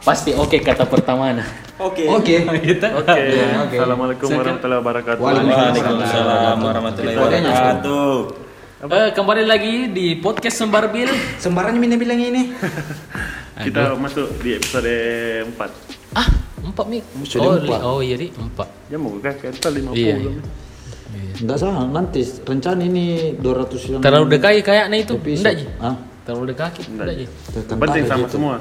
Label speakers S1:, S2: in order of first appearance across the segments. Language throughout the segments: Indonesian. S1: Pasti oke kata pertama nah.
S2: Oke.
S3: Oke. Iya.
S4: Kita.
S3: Oke. Oke.
S4: Assalamualaikum warahmatullahi wabarakatuh.
S3: Waalaikumsalam.
S2: Waalaikumsalam warahmatullahi wabarakatuh.
S1: Eh, kembali lagi di podcast Sembar Bil.
S3: Sembarannya minta bilang ini.
S4: Kita masuk di episode 4
S1: Ah, empat mik.
S3: Sudah
S1: Oh,
S3: empat.
S1: li- oh iya di empat.
S4: Jam mau kan kita 50
S1: Iya, iya.
S3: Enggak salah, nanti rencana ini 200 yang
S1: Terlalu dekai kayaknya itu.
S3: episode.
S1: Enggak, Ji.
S3: Hah?
S1: Terlalu dekai. Enggak, Ji.
S3: Tentang
S4: Penting
S3: apa
S4: sama
S3: gitu?
S4: semua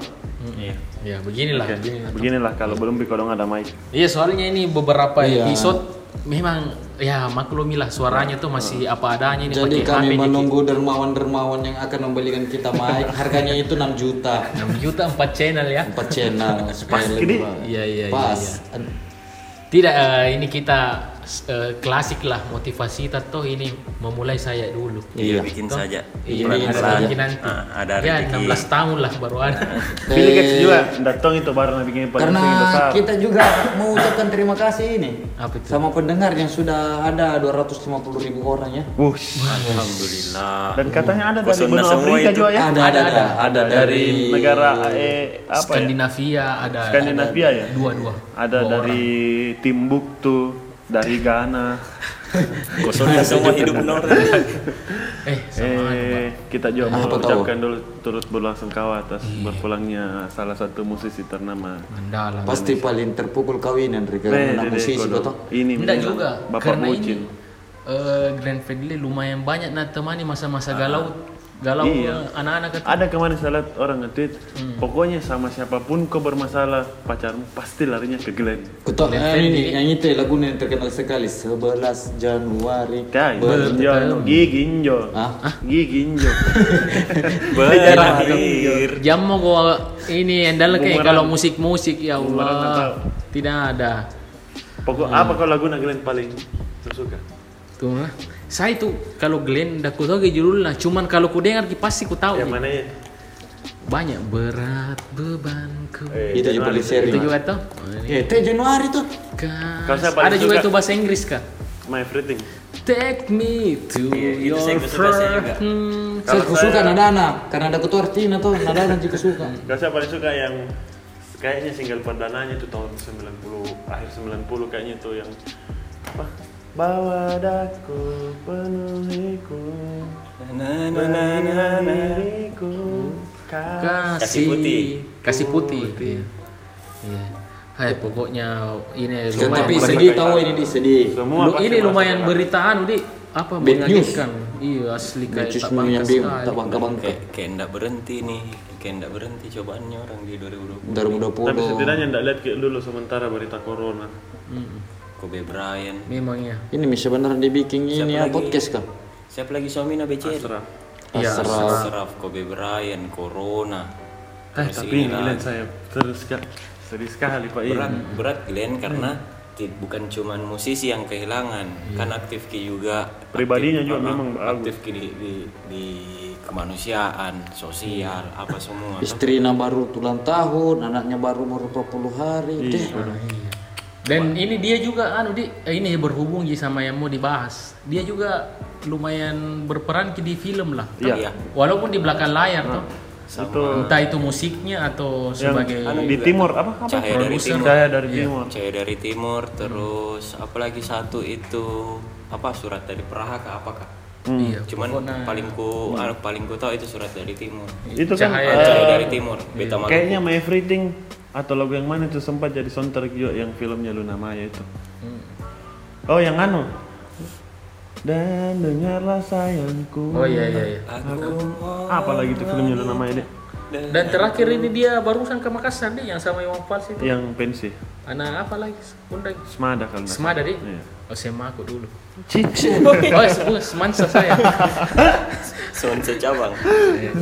S1: Iya. Ya, beginilah.
S4: Oke,
S1: beginilah.
S4: Beginilah kalau belum pikolong ada
S3: Eh.
S4: mic
S1: Iya, soalnya ini beberapa
S3: Iya.
S1: episode memang ya maklumilah suaranya tuh masih apa adanya ini pakai
S3: Jadi
S1: HP
S3: kami
S1: dikit.
S3: menunggu dermawan-dermawan yang akan membelikan kita mic. Harganya itu 6 juta.
S1: 6 juta 4 channel ya.
S3: 4 channel supaya lebih bagus.
S1: Iya, iya, iya,
S3: Pas.
S1: iya. Tidak, eh, ini kita eh, klasik lah motivasi kita tuh ini memulai saya dulu.
S2: Iya, bikin saja.
S1: Iya,
S3: Pelan-pelan.
S1: bikin rezeki nanti.
S2: Ah, ada
S1: ya,
S2: rezeki.
S1: 16 tahun lah baru ada.
S3: Eh,
S4: Pilih guys juga datang itu baru nak bikin podcast
S3: Karena
S4: yang besar.
S3: kita juga mengucapkan terima kasih ini
S1: Apa itu?
S3: sama pendengar yang sudah ada 250 ribu orang ya.
S4: Wush.
S2: Alhamdulillah.
S4: Dan katanya ada dari
S2: Pesona
S4: benua
S2: semua
S4: Afrika
S2: itu.
S4: juga ya.
S3: ada, ada, ada, ada dari
S4: negara eh apa ya?
S1: Skandinavia ada
S4: Skandinavia ya.
S1: dua-dua.
S4: Ada
S1: Dua
S4: dari Timbuktu, dari Ghana.
S2: Kosongnya semua hidup Nora.
S1: orang. Eh, sama
S4: Eh, kita juga
S3: Apa
S4: mau
S3: Iya. tahu?
S4: ucapkan dulu turut berlangkawa atas berpulangnya salah satu musisi ternama.
S1: Mandala.
S3: Pasti paling terpukul kawinan Ri,
S4: Eh,
S3: karena anak
S4: Dede
S3: musisi
S4: Kodok.
S3: betul.
S4: Ini
S1: Enggak
S4: memang
S1: juga.
S4: Bapak
S1: Karena
S4: Mucin.
S1: ini eh, Grand Fedley lumayan banyak nak temani masa-masa galau galau
S4: Ah. Iya.
S1: eh, anak-anak itu.
S4: Ada kemarin salah orang nge-tweet,
S1: Hmm.
S4: pokoknya sama siapapun kau bermasalah, pacarmu pasti larinya ke Glenn.
S3: Betul,
S1: Glenn
S3: eh, ini
S1: Fredly.
S3: yang itu lagu yang terkenal sekali 11 Januari
S4: Kayak
S3: ber-
S4: ginjal, gigi ginjal,
S3: Hah?
S4: gigi ginjal.
S2: Iya, Berakhir.
S1: gitu. Jam mau gua ini endal kayak
S4: Bumerang.
S1: kalau musik-musik ya
S4: Bumerang
S1: Allah.
S4: atau-
S1: Tidak ada.
S4: Pokok
S3: Hmm.
S4: apa kau lagu nak Glenn paling kau suka?
S1: Tuh. nah. Saya itu kalau Glenn dah ku tahu ke judulnya, nah, cuman kalau ku dengar ki pasti ku
S2: Iya,
S1: tahu.
S4: Yang mana ya?
S1: Banyak berat bebanku.
S2: Iya,
S4: Eh,
S3: Itu juga paling sering.
S1: Itu juga tuh.
S3: Eh, teh Januari tuh.
S1: Kas.
S4: Kau siapa
S1: Ada
S4: yang
S1: juga
S4: suka?
S1: itu bahasa Inggris kah?
S4: My everything.
S1: Take me to
S2: Iya, itu
S1: your
S2: saya suka, saya
S1: first.
S2: juga.
S1: Hmm.
S3: Saya suka Nadana, karena ada ketua Artina tuh, Nadana juga suka.
S4: Kau siapa paling suka yang kayaknya single perdananya itu tahun 90 akhir 90 kayaknya itu yang apa? Bawa daku penuhiku
S2: Na, na, na, na, na.
S4: menandiriku
S1: kasih
S2: Kasih putih. Oh,
S1: kasih putih iya Iya. Hai pokoknya ini
S3: Ya,
S1: lumayan
S3: tapi
S1: beri-
S3: sedih tahu ini di sedih.
S4: Semua
S1: Lu-
S4: pasti
S1: ini
S4: merasa
S1: lumayan
S4: kalah.
S1: beritaan di apa
S3: Bad
S1: mengagetkan iya asli kayak
S3: Becus
S1: tak
S3: mu yang
S1: pantas
S3: bingung,
S1: sekali.
S3: tak
S4: Eh,
S3: bangka-bangka.
S2: Kayak kayak ndak berhenti nih. Kayak ndak berhenti cobaannya orang di 2020.
S4: Tapi
S3: 2020.
S4: setidaknya ndak lihat kayak dulu sementara berita corona.
S1: Mm-mm.
S2: Kobe Bryant.
S1: memang ya
S3: Ini Misha beneran dibikin
S2: Siapa
S3: ini ya
S2: lagi?
S3: podcast kah?
S2: Siapa lagi suamina BCL?
S4: Serah.
S1: Iya,
S3: Asra.
S2: Seraf Kobe Bryant, Corona.
S4: Eh,
S2: Terus
S4: tapi ini
S2: ini
S4: lihat
S2: lagi.
S4: saya terus kak sedih sekali pak Iya.
S2: berat
S4: ini.
S2: berat Glenn karena ti- bukan cuman musisi yang kehilangan kan aktif Ki juga aktif-
S4: Pribadinya Iya, juga
S2: ah,
S4: memang bagus.
S2: aktif Ki di, di, di kemanusiaan sosial
S4: Hmm.
S2: apa semua
S3: Istrinya baru ulang tahun, anaknya baru baru 40 hari.
S4: Iya,
S3: Deh.
S1: Nah, iya. dan ini dia juga anu di eh, ini berhubung Ji, sama yang mau dibahas dia juga lumayan berperan di film lah
S2: iya
S1: walaupun di belakang layar tuh
S4: Itu
S1: entah itu musiknya atau
S4: Hmm. yang
S1: sebagai
S4: di timur apa? apa?
S2: Cahaya dari
S4: Produser.
S2: timur.
S4: Cahaya dari timur.
S2: cewek dari timur terus apalagi satu itu apa surat dari Prahaka apakah
S4: Hmm.
S1: iya
S2: cuman paling ku ah, paling ku tahu itu surat dari timur
S4: Itu kan
S1: Cahaya
S4: eh,
S2: cahaya dari timur beta Maluku.
S4: Kayaknya My Everything atau lagu yang mana itu sempat jadi soundtrack juga yang filmnya Luna Maya itu.
S1: Hmm.
S4: Oh yang anu. Dan dengarlah sayangku.
S1: oh iya iya, iya.
S2: aku
S4: Apa lagi itu filmnya Luna Maya deh?
S1: Dan terakhir ini dia barusan ke Makassar nih yang sama Imam Fals itu.
S4: Yang pensi.
S1: Anak apa lagi? Undang.
S4: Semada kalau nggak
S1: Semada deh.
S4: Iya.
S1: Oh, sema aku dulu.
S4: Cici.
S1: Oh, sebut semansa saya.
S2: son secabang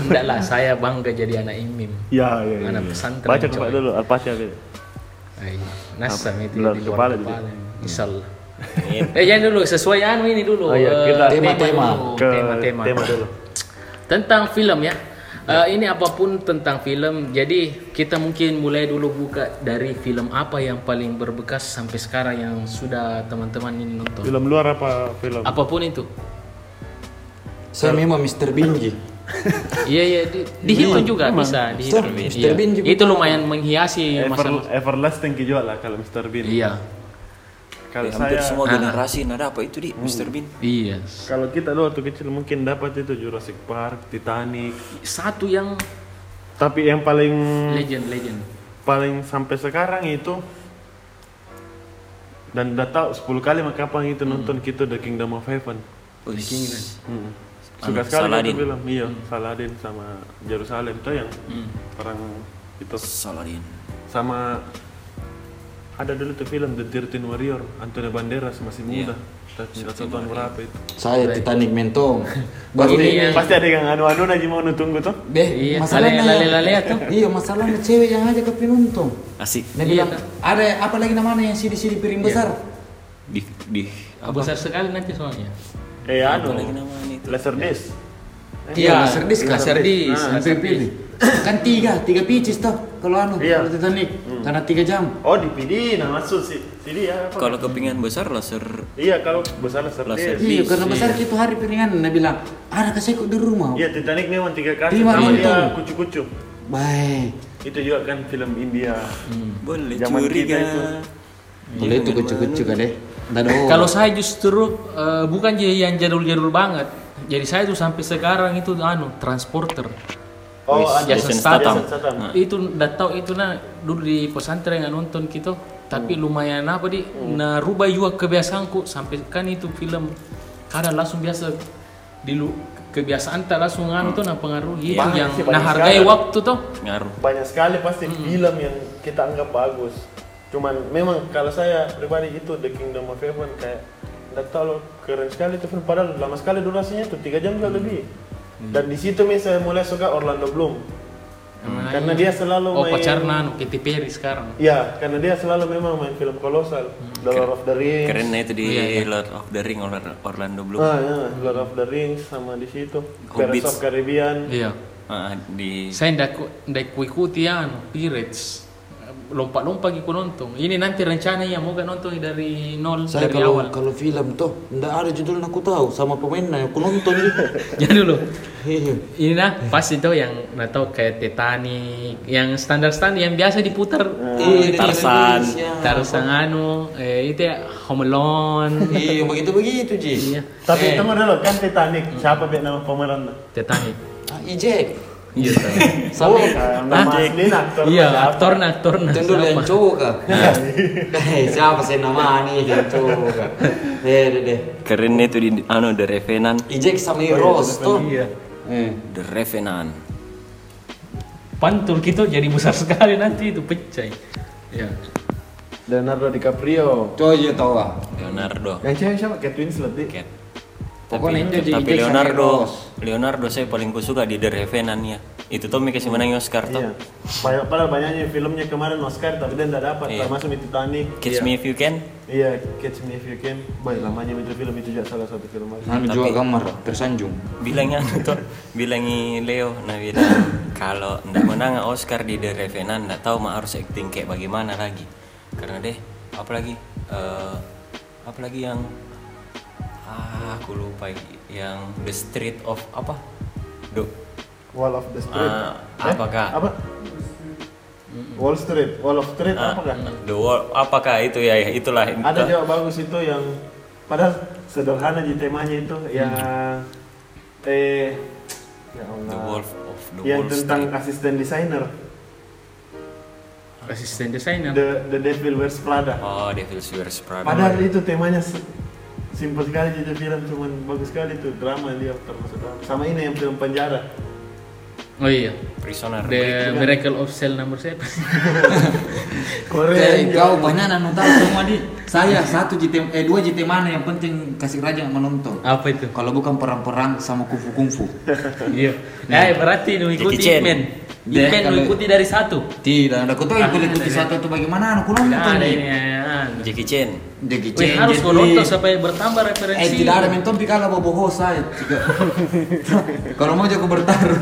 S1: Enggak lah, saya bangga jadi anak imim.
S4: Ya, ya, ya.
S1: Anak pesantren.
S4: Baca
S1: coy.
S4: kepada dulu, gitu. Al-Fatihah. Bil.
S1: Ay, Nasam itu
S4: Luar
S1: di luar
S4: kepala
S1: kepala.
S4: jadi.
S1: Insyaallah. eh jangan dulu sesuai anu ini dulu.
S4: Oh, iya,
S1: eh,
S4: kita-
S3: Tema-tema.
S1: dulu,
S4: Ke
S1: tema-tema.
S4: tema dulu.
S1: Tentang film ya. Eh, ini apapun tentang film. Jadi kita mungkin mulai dulu buka dari film apa yang paling berbekas sampai sekarang yang sudah teman-teman ini nonton.
S4: Film luar apa film?
S1: Apapun itu.
S3: Saya memang Mr. Binji.
S1: Iya iya di, dihitung
S4: Memang,
S1: juga
S4: memang.
S1: bisa
S3: Mister-
S1: dihitung.
S3: Mister
S1: Iya.
S3: Bean juga.
S1: Itu lumayan menghiasi
S4: Ever,
S1: masalah.
S4: everlasting juga lah kalau Mr. Bean.
S1: Iya.
S4: Kalau
S2: Di Eh, hampir
S4: saya, Hmm.
S2: semua
S1: Ah.
S2: generasi nada apa itu di Mr Bean
S1: Iya.
S4: kalau kita dulu waktu kecil mungkin dapat itu Jurassic Park, Titanic.
S1: Satu yang
S4: Tapi yang paling
S1: legend legend.
S4: paling sampai sekarang itu dan udah tahu 10 kali mah kapan itu
S2: Hmm.
S4: nonton kita The Kingdom of Heaven.
S2: Wis.
S4: Mm. Suka
S2: Anu,
S4: sekali
S2: Saladin.
S4: itu film, iya, Saladin sama Jerusalem itu yang
S2: Hmm.
S4: perang itu
S2: Saladin
S4: sama ada dulu tuh film The Thirteen Warrior, Antonio Banderas masih
S2: Iya.
S4: muda. Tapi nggak tahu tahun berapa itu.
S3: Saya Titanic mentong.
S1: Ini
S3: Pasti
S2: Iya.
S1: yang
S4: Pasti ada yang anu-anu aja mau nunggu tuh.
S3: deh
S1: Iya,
S3: masalahnya
S1: lale-lale tuh.
S3: Iya, masalahnya cewek yang aja ke penonton.
S2: asik
S3: Dia
S1: Iya,
S3: bilang, ada apa lagi namanya yang sidi-sidi piring besar?
S2: di di apa
S1: Besar sekali nanti soalnya.
S4: Eh
S2: Apa
S4: anu,
S2: lagi namanya itu?
S4: Laserdisc.
S3: Iya, Laserdisc lah.
S1: Laserdisc,
S4: Ah,
S1: Laserdisc.
S3: Pilih. Kan tiga, tiga picis toh kalau anu,
S4: Iya.
S3: kalau Titanic. Karena tiga jam.
S4: Oh DVD, nah maksud sih. CD ya apa?
S2: kalau kepingan besar laser
S4: Iya kalau besar Laserdisc.
S2: Laserdisc.
S3: Iya, karena
S2: Iya.
S3: besar itu hari piringan. Dia bilang, ada kasih di rumah.
S4: Iya Titanic memang tiga kali
S3: Lima
S4: sama
S3: bintang.
S4: dia kucu-kucu.
S3: Baik.
S4: Itu juga kan film India.
S1: Hmm.
S2: boleh
S4: Hmm. Zaman
S2: curiga
S4: kita itu.
S3: Boleh itu kucu-kucu kan deh.
S1: Kalau saya justru eh, bukan jadi yang jadul-jadul banget. Jadi saya tuh sampai sekarang itu anu transporter.
S4: Oh, ada
S1: Jason
S2: Jason
S1: Statham. Hmm.
S4: Jason Statham.
S1: Itu udah tahu itu nah dulu di pesantren yang nonton gitu. Tapi
S4: Oh.
S1: lumayan apa di nah rubah juga kebiasaanku sampai kan itu film kadang langsung biasa di lu- kebiasaan tak langsung anu tuh nah pengaruh gitu
S4: Banyak
S1: yang
S4: sih, banyak
S1: nah hargai
S4: sekali.
S1: waktu tuh.
S2: ngaruh
S4: banyak sekali pasti film yang kita anggap bagus cuman memang kalau saya pribadi itu The Kingdom of Heaven kayak nggak tahu loh, keren sekali itu film padahal lama sekali durasinya tuh tiga jam juga lebih
S1: Hmm.
S4: dan di situ misalnya mulai suka Orlando Bloom karena dia selalu
S1: Oh
S4: main
S1: pacarnya anu Katy Perry sekarang.
S4: ya karena dia selalu memang main film kolosal The Lord of the Rings
S2: keren nah itu di
S1: Iya, iya.
S2: Lord of the Ring Orla- Orlando Bloom
S4: ah ya Lord of the Rings sama di situ
S2: Hobbits.
S4: Pirates of Caribbean
S1: Iya.
S2: Ah, di
S1: Saya ndak ku- ndak ku ikuti anu Pirates. Lompat-lompat gitu nonton. Ini nanti rencananya mau gak nonton dari nol
S3: saya
S1: dari
S3: kalau
S1: awal.
S3: kalau film tuh ndak ada judul aku tahu sama pemainnya aku nonton Iya. gitu.
S1: Jadi dulu.
S3: Hehe.
S1: Ini nah pasti tuh yang nggak tahu kayak Titanic, yang standar-standar yang biasa diputar.
S3: Iya, dari
S2: Tarzan.
S3: Indonesia.
S1: Tarzan anu, eh, itu ya Home Alone,
S3: Iya, begitu begitu Ji.
S1: Iya.
S4: tapi tunggu dulu kan Titanic siapa biar nama pemerannya
S1: Titanic.
S3: Ah, Ijek.
S1: Iya. tuh.
S3: Sama
S2: Ah.
S4: nama aslinya aktor
S1: Iya,
S4: siapa?
S1: aktorna, aktorna.
S3: Tentu
S4: ya.
S3: dia yang
S1: Sama.
S3: cowok kah?
S1: Iya.
S3: Eh, siapa sih nama nih dia yang cowok kah? Deh, deh, deh.
S2: keren nah itu di anu The Revenant
S3: Ijek sama Eros tuh. Iya.
S2: The Revenant
S1: Pantul gitu jadi besar sekali nanti itu pecah. Iya.
S4: Leonardo DiCaprio
S3: Cowok aja tahu ah.
S2: Leonardo
S4: Yang cewek siapa? Kate Winslet di.
S2: Cat.
S3: Pokoknya itu di
S2: tapi
S3: Ijek sama
S2: Leonardo
S3: Eros.
S2: Leonardo saya paling kusuka di The Revenant ya itu Tommy kasih menang Oscar tuh
S4: Iya. Banyak padahal banyaknya filmnya kemarin Oscar tapi dia enggak dapat
S2: Iya.
S4: termasuk di Titanic.
S2: Catch Me If You Can
S4: Iya, Catch Me If You Can. Baik, lamanya itu film itu juga salah satu film bagus.
S3: Anu juga gambar tersanjung.
S2: bilangnya anu tuh bilangi Leo nah bilang kalau ndak menang Oscar di The Revenant ndak tahu mah harus acting kayak bagaimana lagi karena deh apalagi eh apalagi yang ah aku lupa yang The Street of apa do
S4: Wall of the Street.
S2: Ah, apakah?
S4: Apa? Wall Street, Wall of Street
S2: ah,
S4: apakah?
S2: the wall apakah itu ya ya, itulah
S4: kan? Ada juga bagus itu yang padahal sederhana di temanya itu yang eh ya
S2: Hmm.
S4: Allah.
S2: The Wolf of the
S4: yang
S2: Wall
S4: tentang
S2: Street.
S4: asisten desainer
S1: Asisten desainer.
S4: The The Devil Wears Prada.
S2: Oh, Devil's Wears Prada.
S4: Padahal itu temanya se- simpel sekali jadi film cuman bagus sekali tuh drama dia termasuk drama. Sama ini yang film penjara.
S1: Oh iya.
S2: Prisoner.
S1: The Miracle of Cell number siapa?
S4: Korea.
S3: Eh, kau banyak nanu tahu semua di. Saya satu JT eh dua JT mana yang penting kasih raja menonton.
S1: Apa itu?
S3: Kalau bukan perang-perang sama kungfu-kungfu.
S1: Iya. Nah, berarti nu ikuti
S2: Jackie Chan.
S1: Ip Man. Ip Man
S3: Dia
S1: nu
S3: Iya, kalau-
S1: ikuti dari satu.
S3: Tidak, ada kau tahu
S1: Ah,
S3: aku lihat di
S1: ada,
S3: satu itu bagaimana aku nonton
S1: Nah, ini.
S3: nih.
S1: ini.
S2: Jackie Chan.
S3: Degi
S1: Wih, harus gua nonton sampai bertambah referensi.
S3: Eh tidak ada menton pikal apa bohong saya. Tiga. Kalau mau jago bertarung.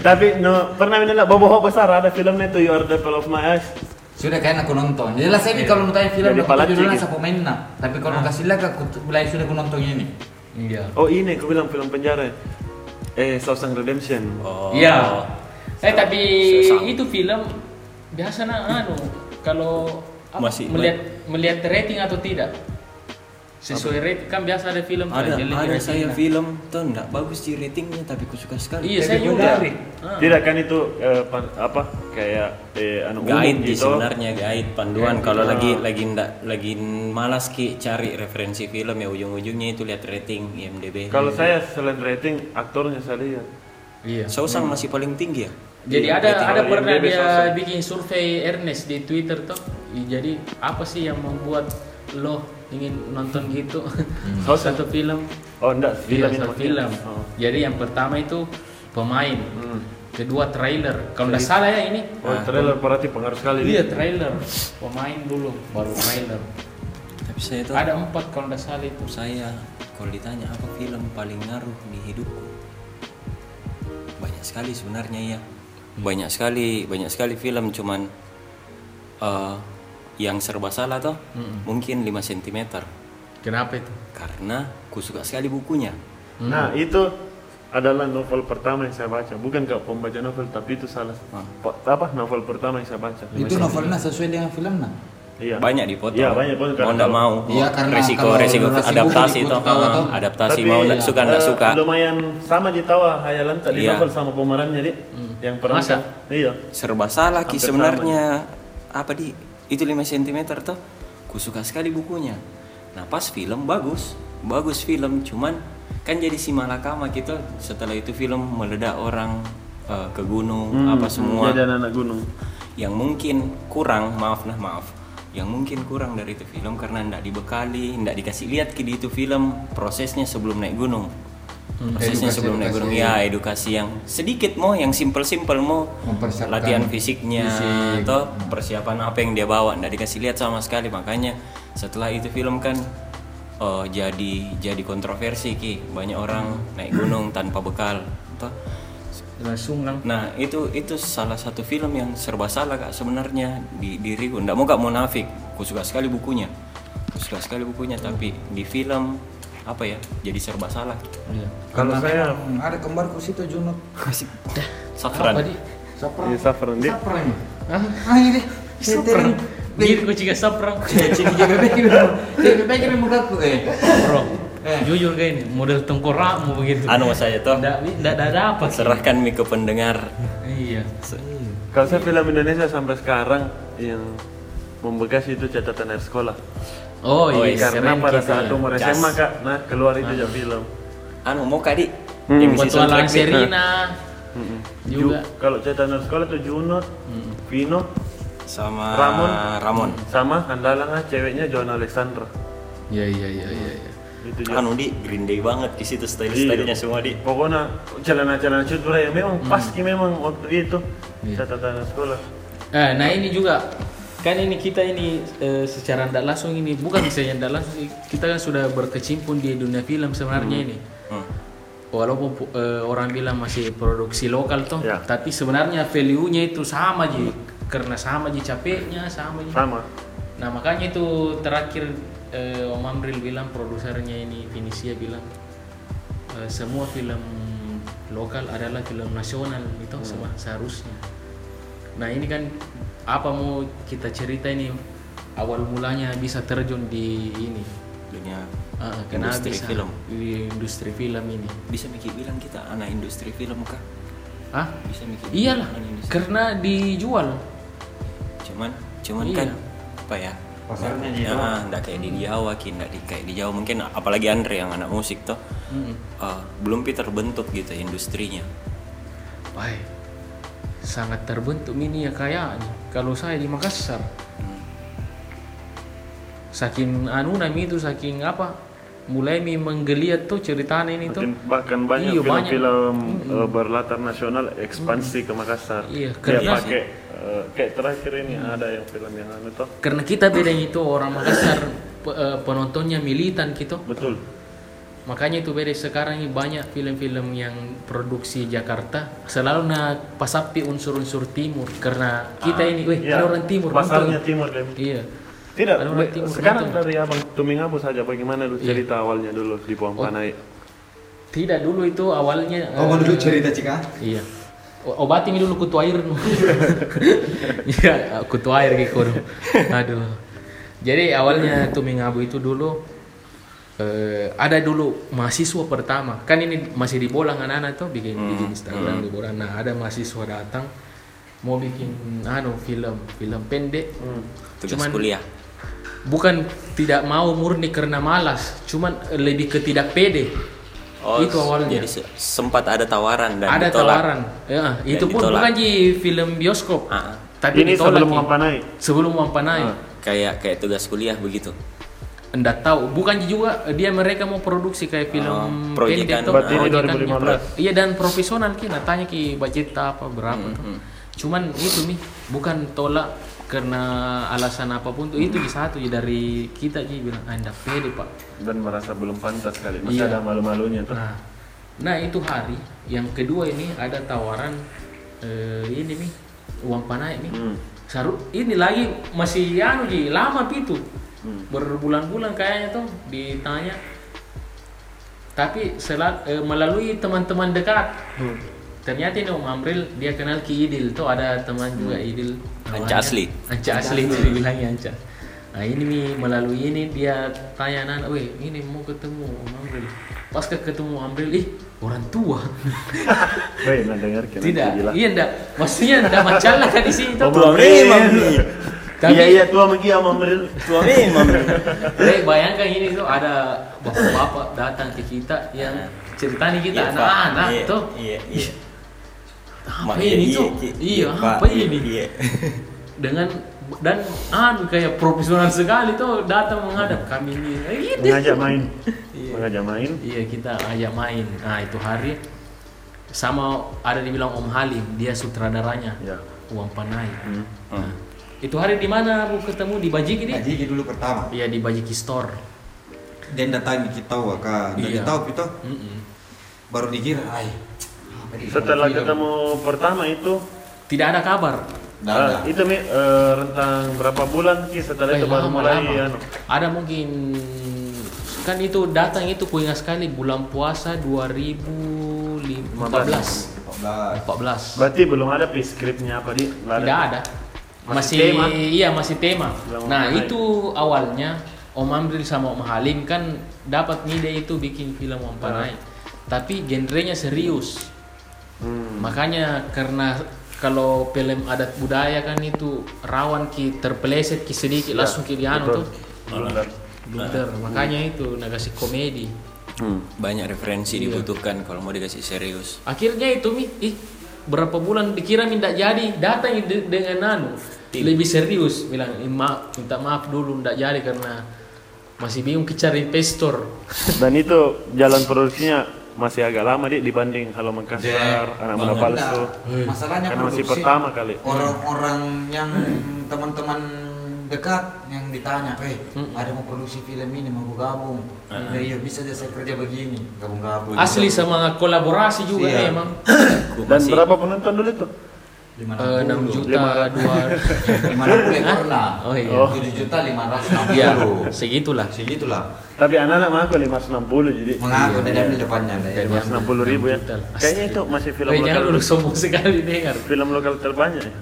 S4: Tapi no, pernah menolak boboho besar ada filmnya tuh You Are the Apple of My Eyes.
S3: Sudah kan aku nonton. Jelas saya ini kalau mau tanya film aku
S4: Jadi
S3: tahu
S4: palaci
S3: judulnya
S4: gitu.
S3: siapa mainnya. Tapi kalau kasih lagi aku bilang sudah aku nonton ini.
S1: Iya.
S4: Oh ini aku bilang film penjara. Eh, Shawshank Redemption.
S2: Oh.
S1: Iya. Eh tapi
S2: Sesam.
S1: itu film biasanya anu kalau apa,
S2: Masih
S1: melihat melihat rating atau tidak. Sesuai rating kan biasa ada film
S2: Ada
S1: jelek
S2: ada
S1: ratingnya.
S2: saya film tuh enggak bagus sih ratingnya tapi ku suka sekali.
S1: Iya saya
S5: Tapi
S1: juga.
S5: dari.
S1: Ah.
S4: Tidak kan itu eh, pan- apa kayak eh anu umum
S2: Guide di
S4: gitu.
S2: sebenarnya guide panduan kalau lagi lagi ndak lagi malas ki cari referensi film ya ujung-ujungnya itu lihat rating IMDb.
S4: Kalau saya selain rating aktornya saya lihat.
S1: Iya.
S2: Sausang masih paling tinggi ya?
S1: Jadi ada
S4: rating
S1: ada
S4: kalau
S1: pernah
S4: IMDb
S1: dia
S4: sosok.
S1: bikin survei Ernest di Twitter tuh. Iya, Jadi apa sih yang membuat lo ingin nonton gitu
S4: Shawshank.
S1: satu film?
S4: Oh, enggak,
S1: Iya,
S4: film ini
S1: satu
S4: maksudnya.
S1: film.
S4: Oh.
S1: Jadi yang pertama itu pemain,
S4: Hmm.
S1: kedua trailer. Kalau nggak salah ya ini
S4: Oh, trailer berarti pengaruh sekali.
S1: Iya trailer, pemain dulu baru trailer.
S2: Tapi saya tuh
S1: Ada empat kalau nggak salah itu.
S2: saya kalau ditanya apa film paling ngaruh di hidupku banyak sekali sebenarnya ya
S4: Hmm.
S2: banyak sekali banyak sekali film cuman eh, yang serba salah toh
S4: Hmm.
S2: mungkin 5 cm
S1: Kenapa itu?
S2: karena ku suka sekali bukunya
S4: Nah,
S1: Hmm.
S4: itu adalah novel pertama yang saya baca. Bukan kak pembaca novel, tapi itu salah.
S2: Ah.
S4: po- Apa novel pertama yang saya baca?
S5: Itu novelnya sesuai dengan filmnya.
S4: Iya.
S2: Iya. banyak dipotong
S4: Iya, banyak dipotong,
S2: mau
S4: karena
S2: ndak
S4: kalau-
S2: mau
S5: Iya, karena
S2: resiko
S5: kalau
S2: resiko
S5: durasi buku
S2: adaptasi toh
S5: dipotong,
S2: eh,
S5: toh.
S2: adaptasi mau ndak suka ndak
S4: eh,
S2: suka
S4: Lumayan sama ditawa hayalan tadi
S2: Iya.
S4: novel sama pemerannya jadi yang peran
S1: Hmm. Masa?
S4: Iya.
S2: serba salah ki
S4: Hampir
S2: sebenarnya apa di itu 5 cm tuh ku suka sekali bukunya nah pas film bagus bagus film cuman kan jadi si malakama gitu setelah itu film meledak orang eh, ke gunung
S4: Hmm,
S2: apa semua
S4: Jadi anak gunung.
S2: yang mungkin kurang maaf nah maaf yang mungkin kurang dari itu film karena ndak dibekali ndak dikasih lihat ki di itu film prosesnya sebelum naik gunung prosesnya
S5: Hmm, edukasi-
S2: sebelum naik
S5: edukasi.
S2: gunung ya edukasi yang sedikit mau yang simple simple mau
S5: Mempersiapkan
S2: latihan fisiknya
S5: fisik.
S2: atau persiapan apa yang dia bawa ndak dikasih lihat sama sekali makanya setelah itu film kan eh, jadi jadi kontroversi ki banyak orang naik gunung tanpa bekal Toh,
S1: Langsung lang.
S2: Nah itu itu salah satu film yang serba salah kak sebenarnya di diriku. Nggak mau kak munafik. Aku suka sekali bukunya. Aku suka sekali bukunya tapi di film apa ya jadi serba salah.
S1: Iya.
S4: Kalau saya
S5: Hmm, ada kembarku situ Junot.
S2: Kasih
S1: Apa
S2: safran.
S1: di?
S5: Sapra.
S4: Iya, Saffron, dia-
S5: Sapra ini. Ah ini.
S1: Sapra. Dia kau Gitu, juga sapra.
S5: Cici GBB gitu. GBB kirim mukaku eh.
S1: Bro,
S5: Eh.
S1: jujur kayak ini model tengkorakmu begitu.
S2: Anu saya tuh
S1: Nggak nggak ada apa.
S2: serahkan mic ke pendengar.
S1: Iya.
S4: Kalau saya film Indonesia sampai sekarang yang membekas itu catatan air sekolah.
S1: Oh
S2: Oh,
S1: iya.
S4: Karena
S1: keren
S4: pada
S1: gitu
S4: saat
S1: ya.
S4: umur
S2: Cas.
S4: SMA kak, nah keluar itu jam film.
S2: Anu mau kak di
S4: Hmm,
S2: yang isi
S1: petualangan
S2: soundtrack nih.
S1: Serina
S4: Mm-mm.
S1: juga.
S4: Ju- Kalau catatan air sekolah itu Junot, Vino,
S2: sama Ramon. Ramon.
S4: Ramon. sama Andalang ah, ceweknya Joan Alexandra.
S1: Iya iya iya iya. iya.
S4: Itu juga.
S2: Anu di Green Day banget di situ
S1: Ah,
S2: style
S4: Iya.
S2: stylenya semua di.
S4: Pokoknya celana-celana cut yang memang pas ki memang waktu itu
S1: Iya.
S4: catatan air sekolah.
S1: Eh, nah ini juga kan ini kita ini eh, secara tidak langsung ini bukan misalnya tidak langsung sih, kita kan sudah berkecimpung di dunia film sebenarnya ini.
S2: Hmm.
S1: Walaupun pu- eh, orang bilang masih produksi lokal toh,
S4: Ya.
S1: tapi sebenarnya value-nya itu sama ji karena sama ji capeknya sama ji.
S4: Sama.
S1: Nah makanya itu terakhir eh, Om Amril bilang produsernya ini Vinisia bilang eh, semua film lokal adalah film nasional itu
S2: Hmm.
S1: sama seharusnya. Nah ini kan apa mau kita cerita ini awal mulanya bisa terjun di ini.
S2: Dunia
S1: Ah, kenapa
S2: Industri
S1: bisa
S2: film.
S1: di industri film ini?
S2: bisa Miki bilang kita anak industri film kak.
S1: Hah?
S2: Bisa Miki. bilang
S1: Iyalah,
S2: anak industri.
S1: karena dijual.
S2: cuman cuman
S1: Iya.
S2: kan apa ya
S5: Pasarnya
S2: nggak-
S5: di
S2: ya,
S5: Jawa.
S2: ah, nggak kayak di Jawa ki nggak di kayak di Jawa mungkin apalagi Andre yang anak musik tuh
S1: Mm-mm.
S2: eh, belum pi terbentuk gitu industrinya
S1: Wah, sangat terbentuk ini ya kayaknya. Kalau saya di Makassar, saking anu nami itu saking apa, mulai mi menggeliat tuh ceritanya ini tuh.
S4: Makin- bahkan banyak
S1: Iya, banyak. hmm.
S4: film-film eh, berlatar nasional ekspansi ke Makassar.
S1: Iya,
S4: Dia
S1: kerja Hmm.
S4: pakai eh, kayak terakhir ini ada yang film yang anu toh.
S1: Karena kita bedanya itu orang Makassar pe- eh, penontonnya militan gitu.
S4: Betul.
S1: Makanya itu beda sekarang ini banyak film-film yang produksi Jakarta selalu na pasapi unsur-unsur timur karena kita ini, weh,
S4: Iya,
S1: ada orang Eh, timur. nonton.
S4: Pasarnya timur Lem.
S1: Iya.
S4: Tidak,
S1: Ada orang
S4: be-
S1: timur,
S4: sekarang
S1: betul. Iya. Oh,
S4: dari Abang Tumingabo saja bagaimana dulu cerita awalnya dulu di Puan Panai.
S1: Tidak dulu itu awalnya.
S3: Oh, mau
S1: eh,
S3: dulu cerita Cika?
S1: Iya. O- Obati mi dulu kutu air. nu. Iya, kutu air kayak kudu. Aduh. Jadi awalnya tuh Mingabu itu dulu eh, ada dulu mahasiswa pertama. Kan ini masih di bolang anak-anak tuh bikin bikin Instagram di bolang. Nah, ada mahasiswa datang mau bikin anu film, film pendek.
S2: tugas kuliah
S1: Bukan tidak mau murni karena malas, cuman lebih ke tidak pede. itu awalnya
S2: Oh, jadi se- sempat ada tawaran dan
S1: ada
S2: ditolak.
S1: tawaran ya, itu pun
S2: ditolak.
S1: bukan di film bioskop
S2: Ah,
S1: tapi
S4: ini
S1: ditolak
S4: sebelum
S1: Ji.
S4: Mampanai.
S1: sebelum Mampanai
S2: kayak kayak tugas kuliah begitu
S1: Anda tahu bukan Ji juga dia mereka mau produksi kayak film
S2: Oh,
S1: pendek
S2: proyekan.
S1: tuh,
S4: Berarti ini
S1: proyekan,
S4: 2015.
S1: ya. iya dan profesional kita tanya ki budget apa berapa
S2: Hmm,
S1: tuh. cuman itu nih bukan tolak karena alasan apapun tuh
S2: Hmm.
S1: itu di satu Ji, dari kita Ji bilang anda pede pak
S4: dan merasa belum pantas kali
S1: Iya.
S4: masih ada malu-malunya tuh
S1: Nah, nah itu hari yang kedua ini ada tawaran eh, ini nih uang panai nih. Saru ini lagi masih anu Ji, lama pitu. Berbulan-bulan kayaknya tuh ditanya. Tapi sela- eh, melalui teman-teman dekat. Ternyata ini Om Amril dia kenal Ki Idil tuh ada teman juga Idil. namanya.
S2: Anca asli.
S1: Anca asli itu dibilangnya Anca. Nah ini Mi, melalui ini dia tanya Nana, weh ini mau ketemu Om Amril. Pas ke ketemu Amril, ih orang tua.
S4: Woi, nah dengar kira
S1: Tidak, iya ndak. Maksudnya ndak masalah kan di sini. iya. tuh.
S2: Tua memang nih.
S1: Tapi-
S4: Iya iya tua megi sama meril.
S2: Tua memang.
S1: Dek, eh, bayangkan ini tuh ada bapak-bapak datang ke kita yang ceritanya kita
S2: Iya, Pak.
S1: anak-anak
S2: Iya,
S1: tuh.
S2: Iya, iya.
S1: Apa
S2: Mak,
S1: ini
S2: iya,
S1: tuh?
S2: Ki.
S1: Iya,
S2: Pak,
S1: apa
S2: iya,
S1: ini?
S2: Iya.
S1: Dengan dan anu kayak profesional sekali tuh datang menghadap kami ini. Eh, gitu.
S4: Mengajak main.
S1: Iya.
S4: Mengajak main.
S1: Iya kita ajak main. Nah itu hari sama ada dibilang Om Halim dia sutradaranya
S4: Ya.
S1: uang panai. Nah,
S2: Hmm.
S1: Itu hari di mana aku ketemu di Bajiki nih?
S3: Jadi dulu pertama.
S1: Iya di Bajiki Store.
S3: Dan datang kita waka, dan
S1: Iya.
S3: kita kita
S1: Mm-mm.
S3: baru dikira, ay, apa ini?
S4: Setelah
S1: Film.
S4: ketemu pertama itu
S1: Tidak ada kabar.
S2: Nah,
S3: Dah,
S4: eh,
S3: dah.
S4: itu mi eh, rentang berapa bulan sih setelah
S1: Eh,
S4: itu baru
S1: lama,
S4: mulai
S1: lama.
S4: anu.
S1: Ada mungkin kan itu datang itu kuingat sekali bulan puasa 2014. 14.
S3: 14.
S4: Berarti belum ada pre scriptnya apa di? Nggak
S1: Tidak ada.
S4: Masih
S1: Masih,
S4: tema?
S1: iya masih tema.
S4: Belum
S1: nah,
S4: mulai.
S1: itu awalnya Om Amril sama Om Halim kan dapat ide itu bikin film Om Panai.
S4: Nah.
S1: Tapi genrenya serius.
S4: Hmm,
S1: Makanya karena kalau film adat budaya kan itu rawan ki terpeleset ki sedikit
S4: Ya,
S1: langsung ki dianu tuh.
S4: Belum.
S1: Blunder. Makanya itu nah kasih komedi. Hmm.
S2: Banyak referensi
S1: Iya.
S2: dibutuhkan kalau mau dikasih serius.
S1: Akhirnya itu mi ih berapa bulan dikira minta jadi datang de- dengan nano lebih serius bilang "Ih, maaf minta maaf dulu ndak jadi karena masih bingung ke cari investor
S4: Dan itu jalan produksinya masih agak lama di dibanding Halo Makassar,
S2: Iya,
S3: Jack,
S4: Anak Muda
S3: Bang
S4: Palsu.
S3: Enda. Masalahnya
S4: Karena masih
S3: produksi.
S4: pertama kali.
S3: Orang-orang yang teman-teman dekat yang ditanya, eh ada mau produksi film ini mau aku gabung, ya iya bisa aja saya kerja begini, gabung-gabung.
S1: asli sama kolaborasi juga
S3: Iya.
S1: emang
S2: Aku
S4: Dan
S2: masih-
S4: berapa penonton dulu itu?
S3: Lima
S1: Eh, 6 juta
S4: 500.
S1: dua
S3: Lima puluh ya pernah.
S1: Oh, iya.
S3: Tujuh juta lima ratus enam
S1: ya
S3: puluh.
S1: segitulah
S3: Segitulah.
S4: Tapi anak-anak mengaku 560 jadi
S3: Mengaku
S1: Iya,
S3: dari ambil depannya. Dek.
S4: 560 ribu ya.
S1: 6 juta.
S4: Kayaknya itu masih film
S1: Eh,
S4: lokal.
S1: jangan dulu sombong sekali dengar
S4: Film lokal terbanyak ya.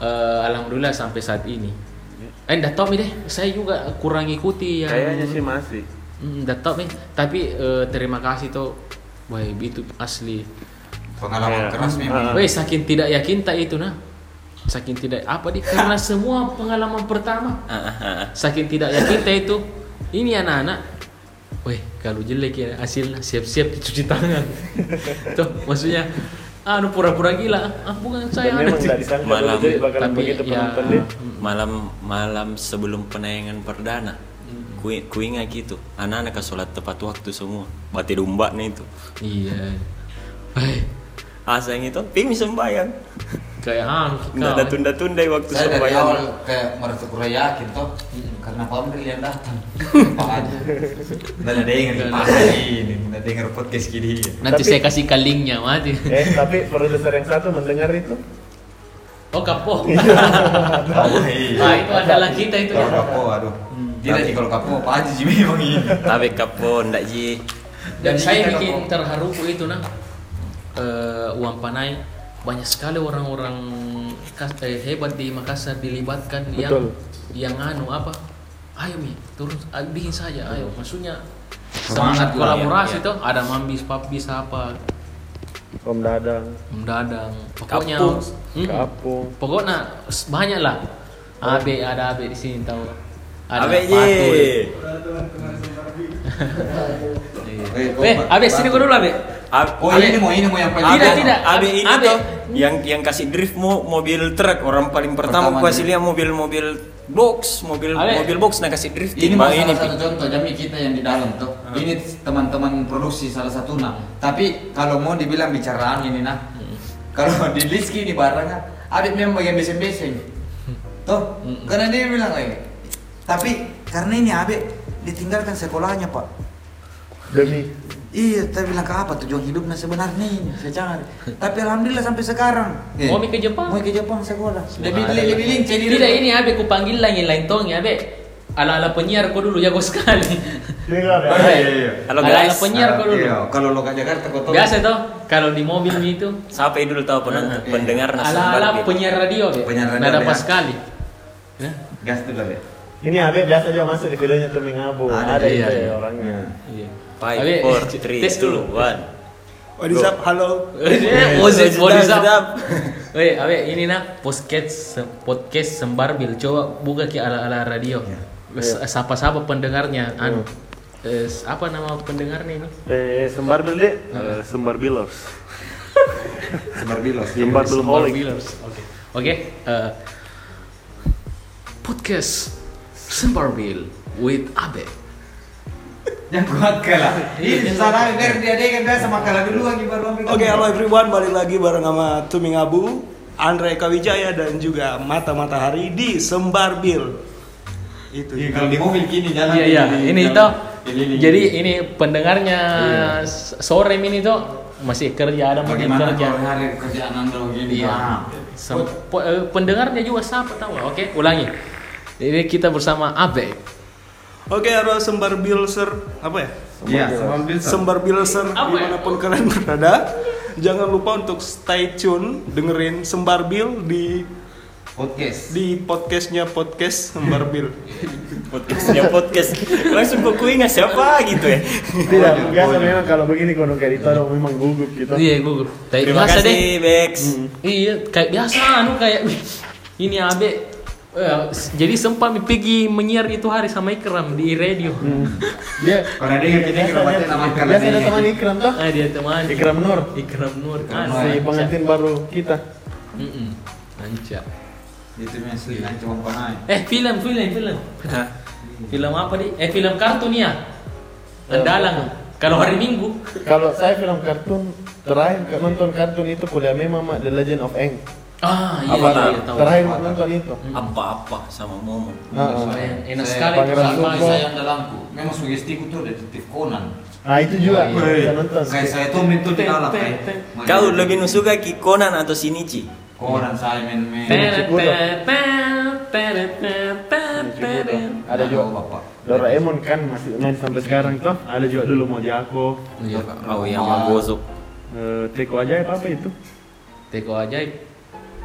S1: Eh, alhamdulillah sampai saat ini eh ndak tahu Mi, deh saya juga kurang ikuti yang
S4: Ya. Kayaknya sih masih.
S1: Hmm, nggak tahu nih. Tapi eh, terima kasih tuh. Wah, itu asli.
S3: Pengalaman
S4: Iya.
S3: keras memang.
S4: Ah.
S1: Weh, saking tidak yakin tak itu nah. Saking tidak apa di karena semua pengalaman pertama.
S2: Ah, ah, ah, ah.
S1: Saking tidak yakin tak itu. Ini anak-anak. Weh, kalau jelek ya hasilnya siap-siap cuci tangan. tuh, maksudnya anu pura-pura gila. Ah, bukan
S4: Dan
S1: saya
S4: memang
S1: anak.
S4: tidak disangka
S2: Malam.
S4: dulu jadi bakalan
S1: Tapi
S4: begitu
S1: ya-
S4: penonton dia.
S2: malam malam sebelum penayangan perdana
S3: Hmm.
S2: kui kuinga gitu anak-anak ke sholat tepat waktu semua bati domba nih itu Ah,
S1: Iya. Weh,
S2: asang itu ping sembahyang
S1: kayak anu
S2: nggak ada tunda-tunda
S1: Nah,
S2: waktu
S3: Saya dari
S2: sembahyang
S3: awal kayak merasa kurang yakin toh
S1: Hmm.
S3: karena Pak Amri yang datang. Pak aja. Dan ada yang
S1: Nggak
S3: ngerti ini, ada yang denger podcast gini.
S1: Nanti
S4: Tapi-
S1: saya kasih linknya mati.
S4: Eh, tapi produser yang satu mendengar itu.
S1: Oh, kapok.
S3: Oh, iya.
S1: Nah, itu adalah kita itu ya.
S3: Kalau Hmm. kapo, aduh. Tidak sih kalau kapo, Pak Haji sih memang ini.
S2: tapi kapo ndak ji
S1: Dan
S3: Jadi
S1: saya
S3: kita
S1: bikin
S3: ngomong.
S1: terharu ku itu nah eh, uang panai banyak sekali orang-orang kas- eh, hebat di Makassar dilibatkan yang
S4: Betul.
S1: yang anu apa ayo mi turun ah, bikin saja ayo maksudnya
S3: Semangat
S1: semangat
S3: lah,
S1: kolaborasi
S2: iya, iya.
S1: tuh ada mambis papis apa
S4: Om Dadang,
S1: mendadang pokoknya
S2: Kapung.
S1: Mm.
S4: Kapung.
S1: pokoknya s- banyak lah abe ada abe di sini tahu ada
S2: Abe je.
S1: Patul.
S3: Iya.
S1: eh abe sini gua dulu abe
S2: Ab-
S3: Oh
S1: Abe.
S3: ini mau ini mau yang
S1: Tidak,
S3: paling
S2: Abe-
S1: tidak.
S2: Abe ini
S1: Abe.
S2: tuh yang yang kasih drift mo, mobil truk orang paling pertama,
S3: Pertama
S2: gua kasih
S3: drift.
S2: lihat mobil-mobil box, mobil
S1: Ale.
S2: mobil box nah kasih drift.
S3: Ini
S2: Bang,
S3: masalah satu contoh jami kita yang di dalam tuh.
S1: Ah.
S3: Ini teman-teman produksi salah satu nah. Tapi kalau mau dibilang bicaraan ini nah.
S1: Hmm.
S3: Kalau di list ini barangnya, Abid memang bagian besen-besen. Tuh,
S1: Hmm.
S3: karena dia bilang lagi. Tapi karena ini Abid ditinggalkan sekolahnya pak.
S4: Demi
S3: Iya, tapi bilang ke apa tujuan hidupnya sebenarnya ini? Saya cari. Tapi alhamdulillah sampai sekarang. Eh,
S1: Mau mi ke Jepang?
S3: Mau ke Jepang sekolah. Lebih
S1: Subhanallah.
S3: lebih lebih lincah diri.
S1: tidak ini abe ku panggil lagi lain tong ya abe ala ala penyiar kau dulu jago sekali
S4: Dengar
S2: ya?
S3: Oh, iya, iya, iya.
S2: Halo
S1: ala ala
S2: guys.
S1: penyiar kau dulu
S3: Ah, Iya, kalau lo ke Jakarta kau tahu.
S1: biasa tuh kalau di mobil ni itu
S2: Siapa dulu tahu pendengar,
S3: Eh.
S2: pendengar gitu.
S1: ala
S2: nasabah
S1: ala
S2: lebih.
S1: penyiar radio abe
S3: Penyiar radio,
S1: nada
S3: Abe,
S1: pas
S3: ya.
S1: sekali Ya.
S3: Gas dulu ya.
S4: Ini Abe biasa aja masuk di videonya tuh mengabur.
S3: Ada,
S4: Ada,
S3: iya,
S4: itu
S3: iya.
S4: ya orangnya.
S1: Iya.
S2: Five,
S1: Abe,
S2: four, three,
S1: tes
S2: two,
S1: dulu.
S2: one.
S6: What is up? Halo.
S1: Eh,
S2: What's
S1: Ozzy,
S2: up,
S1: what is
S2: what's
S1: up?
S2: up?
S1: Weh, abe ini nak podcast se- podcast sembar bil coba buka ke ala ala radio. Wes-
S3: Ya.
S1: Sapa-sapa pendengarnya, anu eh, s- apa nama pendengarnya ini?
S4: Eh, sembar beli, sembar bilers,
S3: Sebar bilos.
S4: sembar
S1: Sembar
S4: bilholik.
S1: Billers. Oke, oke. eh, podcast sembar bil with Abe.
S3: Yang Ya, kuat kalah.
S1: Iya,
S3: Ini salah biar dia dia kan biasa makalah dulu lagi baru ambil.
S6: Oke, halo everyone, balik lagi bareng sama Tuming Abu, Andre Eka Wijaya dan juga Mata Matahari di Sembar Bil. Itu.
S3: Iya, kalau di mobil gini jalan.
S1: Iya iya, ini itu.
S3: jalan. Ini, ini. Iya.
S1: Jadi ini pendengarnya s- sore ini tuh masih kerja ada mungkin
S3: bagaimana
S1: kerja.
S3: kalau hari kerjaan Anda gini?
S1: Iya.
S3: Ah.
S1: Sem- po- eh, pendengarnya juga siapa tahu? Oke, ulangi. Jadi kita bersama Abe.
S6: Oke, halo Sembar Bilser, apa ya?
S3: Iya, sambil
S6: Sembar Bilser
S1: Apa ya?
S6: dimanapun kalian berada. Jangan lupa untuk stay tune dengerin Sembar Bil di
S3: podcast.
S6: di podcastnya podcast Sembar Bil.
S2: Podcastnya podcast. Langsung kok ku ingat siapa gitu ya.
S4: Tidak, biasa memang kalau begini kalau kayak ditaruh memang gugup gitu.
S1: Iya, gugur. Kayak
S2: Terima
S1: biasa
S2: kasih,
S1: deh.
S2: Bex.
S1: Iya, kayak biasa anu kayak ini Abe. Eh, s- jadi sempat mi pergi menyiar itu hari sama Ikram di radio.
S4: Dia
S3: Kalau dia gini kita baca nama kalah
S4: biasa ada teman Ikram tuh.
S1: Ah, dia teman.
S4: Ikram Nur.
S1: Ikram Nur. Ah,
S3: Nur.
S4: Si
S1: si-
S4: pengantin baru kita.
S1: Mm-mm. Lancar.
S3: Itu mesti yang cuma panai.
S1: Eh, film, film, film.
S2: Hah?
S1: Film apa di? Eh, film kartun ya. Andalang. Kalau hari Minggu.
S4: Kalau saya film kartun terakhir ke- nonton kartun itu kuliah memang mak The Legend of Eng.
S1: Ah, iya,
S2: Apa
S1: iya,
S2: tak?
S1: iya, tahu.
S4: Terakhir nonton itu. Nah,
S2: Apa-apa sama Momo.
S3: Iya,
S4: Ah, ah.
S1: Lumayan, Enak
S3: Saya
S1: sekali
S4: Pangeran
S1: sama
S4: Sukmo.
S1: saya.
S3: Saya dalamku. Memang sugestiku tuh detektif Conan.
S4: Nah itu juga
S3: Iya.
S4: kita nonton.
S3: Kayak saya tuh main tuh di dalam.
S1: Teng,
S3: eh.
S1: teng,
S3: Main-
S2: Kau lebih nusuka ki Conan atau Shinichi?
S3: Conan saya main-main.
S1: Teret, teret, teret, teret, teret, teret.
S4: Ada
S3: Tahu,
S4: juga
S3: bapak.
S4: Doraemon kan masih main sampai sekarang toh. Ada juga dulu Mojako,
S1: Iya.
S2: Oh, yang menggosok.
S4: eh, Teko ajaib apa itu?
S1: Teko ajaib.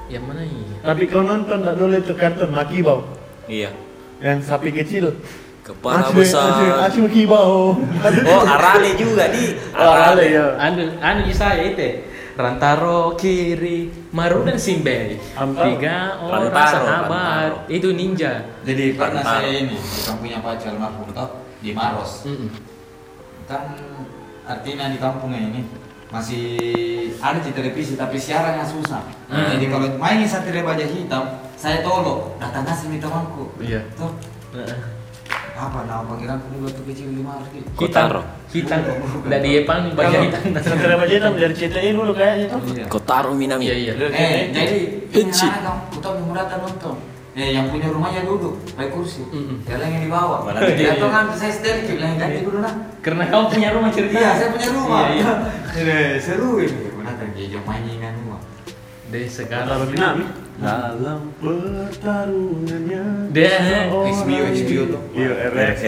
S1: Yang mana ini?
S4: Tapi kau nonton tak dulu itu kartun Makibau
S2: Iya.
S4: yang sapi kecil.
S2: Kepala
S4: Asyik, asyik,
S2: besar.
S4: asyik Kibau.
S2: Oh, Arale juga di.
S4: Arale ya.
S1: Anu, anu di saya itu. Rantaro kiri, Maru dan Simbei.
S4: Rantaro.
S1: Tiga orang
S2: Rantaro,
S1: sahabat.
S2: Rantaro.
S1: Itu ninja.
S3: Jadi karena
S2: Pertama.
S3: saya ini bukan punya pacar almarhum toh di Maros.
S1: Mm-mm.
S3: kan artinya di kampungnya ini masih ada di televisi tapi siarannya susah
S1: Hmm.
S3: jadi kalau main satria baja hitam saya tolong datang kasih minta temanku
S1: Iya.
S3: tuh apa nama panggilanku dulu waktu kecil lima ratus
S2: Kotaro.
S1: Hitam. Dari Jepang baca hitam.
S4: Satria Baja Hitam dari CTI dulu kayaknya tuh.
S2: Kotaro Minami.
S1: Iya, iya.
S3: eh jadi ini
S2: Heci.
S3: anak kamu utang yang merata nonton eh yang punya rumahnya duduk pakai kursi
S1: Mm-mm.
S3: yang lain yang di bawah
S2: Mana
S3: datang
S2: ada-
S3: kan saya stand keep lain ganti dulu nah
S1: Karena kau punya rumah cerita.
S3: iya saya punya rumah
S1: Iya, iya.
S3: Eh, seru ini benar kan dia mainan rumah
S1: Dari sekarang.
S4: Kotaro Minami.
S2: Dalam
S4: pertarungannya
S1: Deh.
S3: XBO, XBO tuh.
S4: Iya,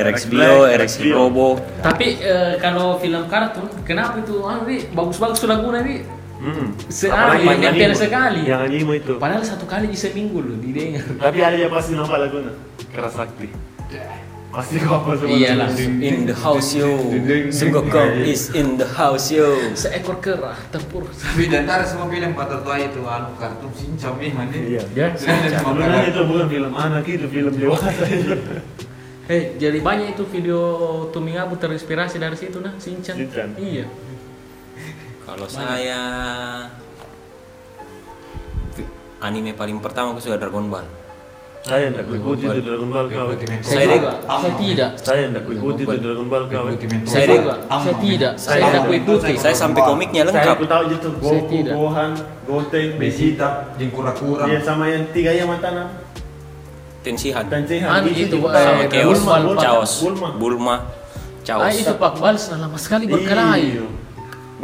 S2: RX, Bio, RX Robo.
S1: Tapi eh, kalau film kartun, kenapa itu anu Ri? bagus-bagus sudah guna nih.
S2: Hmm.
S1: Sekali,
S2: Apalagi yang
S1: hampir
S2: animo.
S1: sekali.
S4: Yang animo itu.
S1: Padahal satu kali di seminggu loh didengar.
S4: Tapi ada yang pasti nampak lagunya. Keras sakti. Pasti kau apa semua.
S1: Iyalah.
S2: Iya, In the house yo,
S4: Iya,
S2: Sungokong is in the house yo.
S1: Seekor kerah tempur.
S3: Tapi dan ntar semua film Pak Tua itu anu kartun sincam nih mandi.
S4: Iya.
S1: Ya.
S4: Sebenarnya itu bukan film anak itu film dewasa itu.
S1: Eh, jadi banyak itu video Tumingabu terinspirasi dari situ nah, Shinchan.
S4: Shinchan.
S1: Iya.
S2: Kalau saya anime paling pertama aku suka Dragon Ball.
S4: Saya tidak ikuti itu Dragon Ball kau.
S1: Saya
S2: Saya
S1: juga, saya tidak.
S4: Saya tidak ikuti itu Dragon Ball kau.
S1: Saya juga, saya tidak. Saya
S2: Saya-
S1: tidak ikuti.
S2: Saya sampai komiknya
S4: Saya aku
S2: lengkap.
S4: tahu itu
S1: Saya
S4: Goku,
S1: tidak.
S4: Gohan, Goten, Vegeta.
S3: Yang kurang-kurang.
S4: Iya sama yang tiga yang mata nah.
S2: Tenshihan
S4: Dan
S1: Ah,
S4: Sehan
S1: itu,
S2: sama
S1: eh,
S2: Chaos,
S1: Bulma, Bulma.
S2: Chaos,
S4: Bulma.
S2: Bulma,
S1: Ah,
S2: Chaos.
S1: itu Pak Bals lama sekali berkelahi.
S4: Iya.